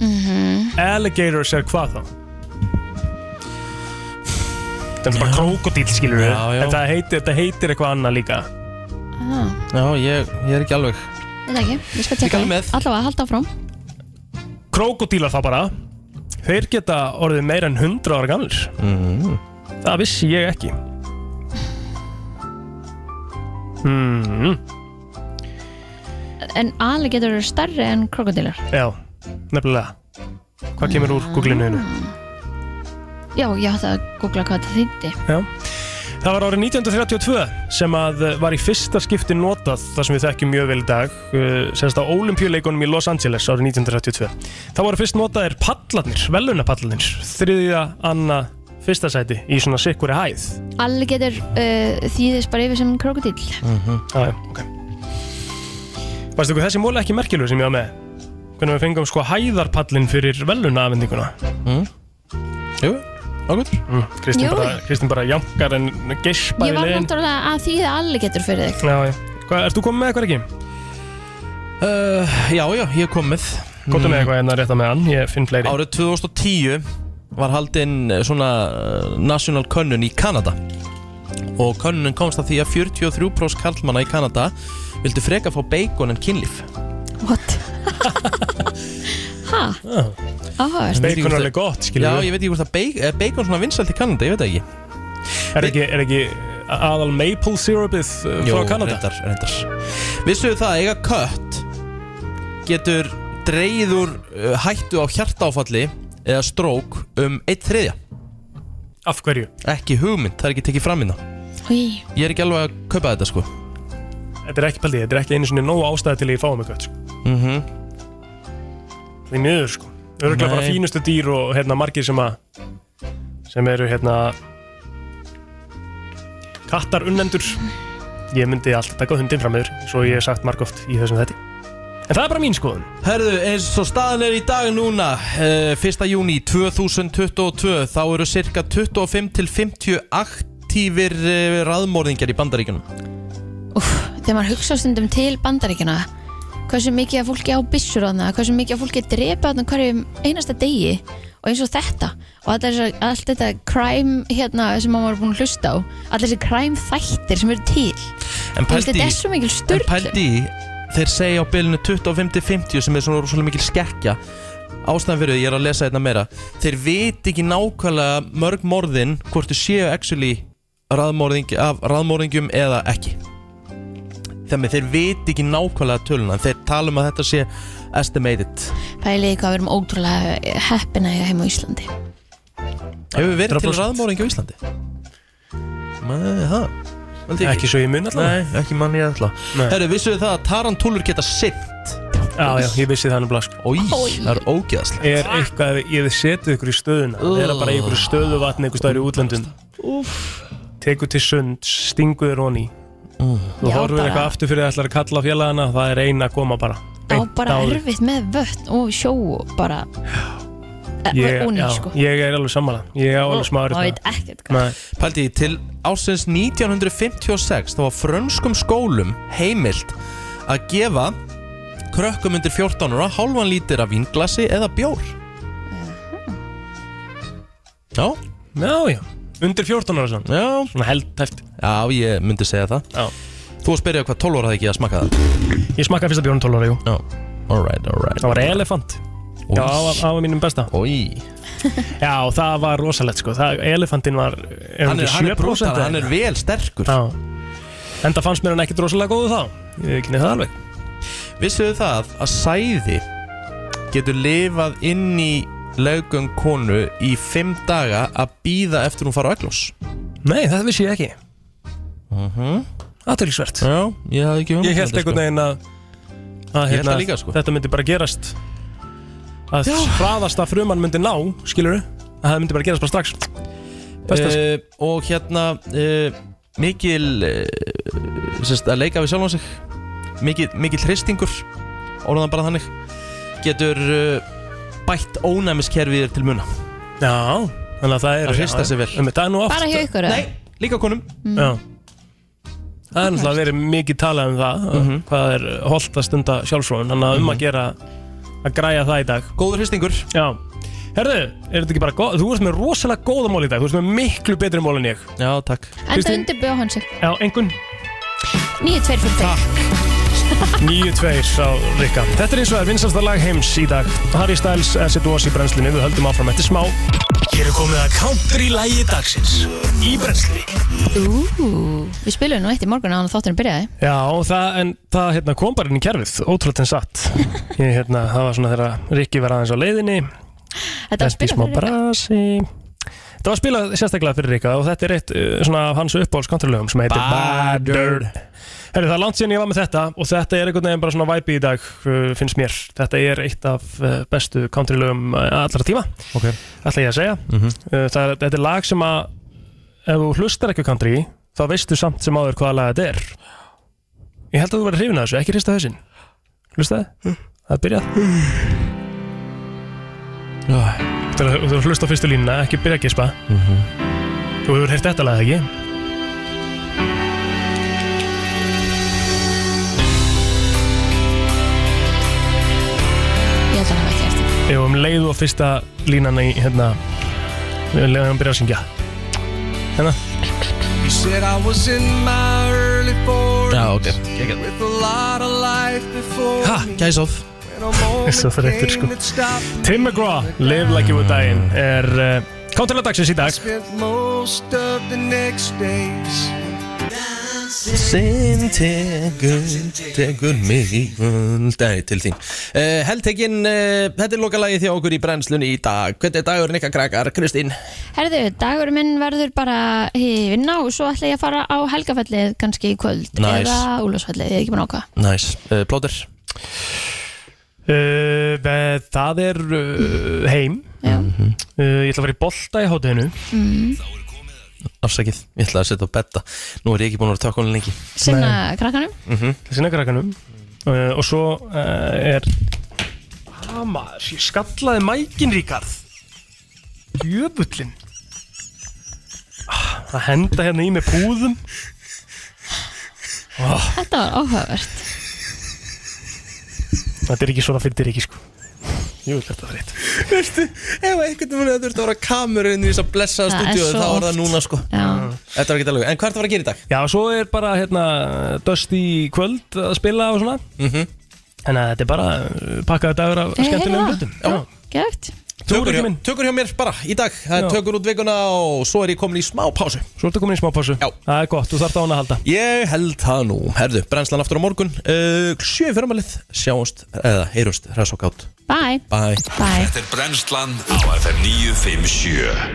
Alligators er hvað þá? Þetta er bara krokodil skilur við Já, já. Þetta heitir, þetta heitir eitthvað annað líka ah, Já, ég, ég er ekki alveg Þetta ekki, ég skal tjekka alveg með. Allavega, halda áfram Krokodílar þá bara Þeir geta orðið meira en 100 ára gamlir mm. Það vissi ég ekki mm. En alveg getur verið stærri en krokodílar Já, nefnilega Hvað kemur úr Google-inu? þínu? Já, ég hætti að googla hvað þetta þýtti Já. Það var árið 1932 sem að eh, var í fyrsta skipti notað það sem við þekkjum mjög vel í dag eh, semst á olimpíuleikunum í Los Angeles árið 1932. Það voru fyrst notaðir pallarnir, velunapallarnir þriðja, anna, fyrsta sæti í svona sikkuri hæð. Alli getur uh, þýðist bara yfir sem krokodil Já, já, ok. Varstu ykkur þessi móli ekki merkilur sem ég var með? Hvernig við fengum sko hæðarpallin fyrir velunafendinguna? Mm. Jú, ákveður. Mm. Kristín Jú. bara, Kristín bara jankar en geispar Ég var náttúrulega að þýða alli getur fyrir þig Já, já. Hva, ert þú komið með eitthvað ekki? Uh, já, já, ég er komið Komdu Mm. með eitthvað hérna rétt að með hann, ég finn fleiri Árið 2010 var haldinn eh, svona eh, national könnun í Kanada og könnun komst að því að 43% karlmanna í Kanada vildu freka fá bacon en kynlíf Ha, oh. áhugavert Bacon er alveg gott, skilur Já, við. ég veit ekki hvort að bacon, er bacon svona vinsælt í Kanada, ég veit það ekki Er ekki, er ekki aðal maple syrupið uh, Jó, frá Kanada? reyndar, reyndar Vissuðu það að eiga kött getur dreyður uh, hættu á hjartáfalli eða strók um eitt þriðja Af hverju? Ekki hugmynd, það er ekki tekið fram innan Í. Ég er ekki alveg að kaupa þetta sko Þetta er ekki paldið, þetta er ekki einu sinni nóg ástæði til að ég fáum eitthvað sko. mm Því miður sko Örgulega bara Nei. fínustu dýr og hérna margir sem að sem eru hérna kattar unnendur Ég myndi alltaf taka hundin fram yfir svo ég hef sagt margóft í þessum þetta En það er bara mín skoðun Herðu, eins og staðan er í dag núna eh, 1. júni 2022 þá eru cirka 25 til 50 aktífir eh, raðmorðingjar í bandaríkjunum Þegar maður hugsa stundum til bandaríkina hversu mikið að fólki á byssur á það hversu mikið að fólki drepa á það hverjum einasta degi og eins og þetta og allt, þessa, allt þetta crime hérna sem maður er búin að hlusta á allt þessi crime þættir sem eru til En Þú veist, pældi- þetta er svo mikil En sturg pældi í, þeir segja á bylunu 25-50 sem er svona rosalega mikil skekkja Ástæðan fyrir því, ég er að lesa þetta meira Þeir viti ekki nákvæmlega mörg morðin hvort þau séu actually raðmorðing, af raðmorðingjum eða ekki Þannig þeir viti ekki nákvæmlega töluna en Þeir tala um að þetta sé estimated pæliði hvað við erum ótrúlega heppin að ég heima á Íslandi Hefur verið til 100%. raðmorðingi á Íslandi? Nei, ha Valdi Ekki svo ég mun allavega. Nei, ekki mann ég alltaf Herru, vissu þið það að tarantúlur geta sint? Já, já, ég vissi það nefnilega sko Í, það er ógeðslega er eitthvað, ég hef setið ykkur í stöðuna það er bara í ykkur stöðu vatn ykkur stöður í útlöndum tekur til sund, stingur þér honi þú Já, horfur bara- eitthvað aftur fyrir að ætlar að kalla á félagana það er eina að koma bara á Beint bara á þig. erfitt með vötn og sjó og bara ég, ónýtt, já, sko. ég er alveg sammála ég er alveg smáður maður veit ekkert Paldi, til ásins 1956 þá var frönskum skólum heimilt að gefa krökkum undir 14 ára hálfan lítir af vinglasi eða bjór Já Já, já, undir 14 ára svona Já Svona heldtæft Já, ég myndi segja það Já Þú að spyrja hvað 12 ára það ekki að smakka það Ég smakkaði fyrsta bjórn 12 ára, jú Já, alright, alright það var elefant já, það var- það var mínum besta Ói já, það var rosalegt sko það, elefantin var er Hann er- ekki hann er 7% brútal, eða hann er eitthvað? vel sterkur já en það fannst mér hann ekkit rosalega góðu þá ég kynni það alveg Vissuðu það að sæði getur lifað inn í laugum konu í fimm daga að býða eftir hún fara á eglós? Nei, þetta vissi ég ekki uh -huh. Aðtölisvert Já, ég hafði ekki hugmynd Ég um held þetta, einhvern sko. veginn að, að hérna, Ég held það líka, sko. Þetta myndi bara gerast Að hraðasta fruman myndi ná Skilur Að það myndi bara gerast bara strax Eh, Besta uh, Og hérna uh, Mikil uh, sérst, að leika við sjálfan sig Mikil, mikil hristingur Orðan bara þannig Getur uh, bætt ónæmiskerfið þér til muna Já, þannig að það er Að hrista já, sig vel um, Það er nú oft bara hjá ykkur eða? Nei, líka konum Já Það er náttúrulega verið mikið talað um það mm Mhm. Hvað er holdt að stunda sjálfsfróðun Þannig að um að gera Að græja það í dag Góður hristingur Já Herðu, er þetta ekki bara góð Þú ert með rosalega góða mól í dag Þú ert með miklu betri mól en ég Já, takk enda undirbjóð hann sig Já, engun 9243 9-2 á Rikka Þetta er eins og er vinsasta lag heims í dag Harry Styles, Acid Wash í brennslinu Við höldum áfram eftir smá Hér er komið að country lægi dagsins Í brennslinu Ú, við spilum nú eitt í morgun á hann þátturinn byrjaði Já, það, en það hérna, kom bara inn í kerfið Ótrúlega en satt ég, hérna, Það var svona þegar Rikki var aðeins á leiðinni Þetta var Lenti í spilað smá fyrir Rikka. brasi. Þetta var spilað sérstaklega fyrir Rikka og þetta er eitt uh, svona af hans uppáhaldskontrolögum sem heitir Bad Dirt Herri, það er langt síðan ég var með þetta og þetta er einhvern veginn bara svona væpi í dag uh, finnst mér. Þetta er eitt af uh, bestu countrylögum uh, allra tíma Ok. ætla ég að segja Mhm. uh, það, er- Þetta er lag sem að ef þú hlustar ekki á country þá veistu samt sem áður hvaða lag þetta er Ég held að þú verður hrifin að þessu, ekki hrista hausinn Hlustaði? Hm. Það er byrjað Þetta er- Þú verður að hlusta á fyrstu línuna, ekki byrja að gispa Mhm. Þú hefur heyrt þetta lag ekki? Ég held að hann hafa ekki eftir Ef um leið og fyrsta línan í hérna um leið og hann byrja að syngja Hérna You said I was in my early 40s Já, ok. Geggjað. With a lot of life before Ha, gæs of Svo þreyttur sko Tim McGraw, Live Like You Were Dying er uh, Countrylög dagsins í dag Spent most of the next days Sinn tegur, tegur mig í völdæði til þín uh, Heldtekinn, uh, þetta er lokalagið þjá okkur í brennslunni í dag Hvernig er dagurinn ykkar krakkar, Kristín? Herðu, dagur minn verður bara í vinna og svo ætla ég að fara á helgafellið kannski í kvöld Nice. eða úlásfellið, ég er ekki búin ákvað Næs, nice. uh, plóter uh, Það er uh, heim uh, Ég ætla að fara í bolta í hátæðinu mm. Afsakið, ég ætla að setja á betta Nú er ég ekki búin að vera tökkunni lengi Sinna krakkanum Mhm. Sinna krakkanum uh, Og svo uh, er Hamar, Ah, ég skallaði mækin Ríkard Jöfullin ah, Að henda hérna í mig púðum oh, Þetta var áhugavert Þetta er ekki svona fyrir ekki sko Jú, þetta er þreytt Veistu, ef einhvern veginn þú ert að vera kamerun í þess að blessaða Það er stúdíu svo þá er oft. það núna sko Já. Þetta var ekki alveg, en hvað ertu að fara að gera í dag? Já, svo er bara hérna Dusty kvöld að spila og svona Mhm. Þannig að þetta er bara uh, pakkaði dagur af Ég heyri skemmtilegum það. hlutum Já. Gægt Tökur hjá, tökur hjá mér bara í dag Það er Já. tökur út vikuna og svo er ég komin í smá pásu Svo ertu komin í smá pásu Já Það er gott, þú þarft á hana að halda Ég held það nú Herðu, brennslan aftur á morgun uh, Sjö fyrramalið Sjáumst, eða heyrumst, hræðsokk átt Bye Bye Bye Þetta er brennslan á FM 957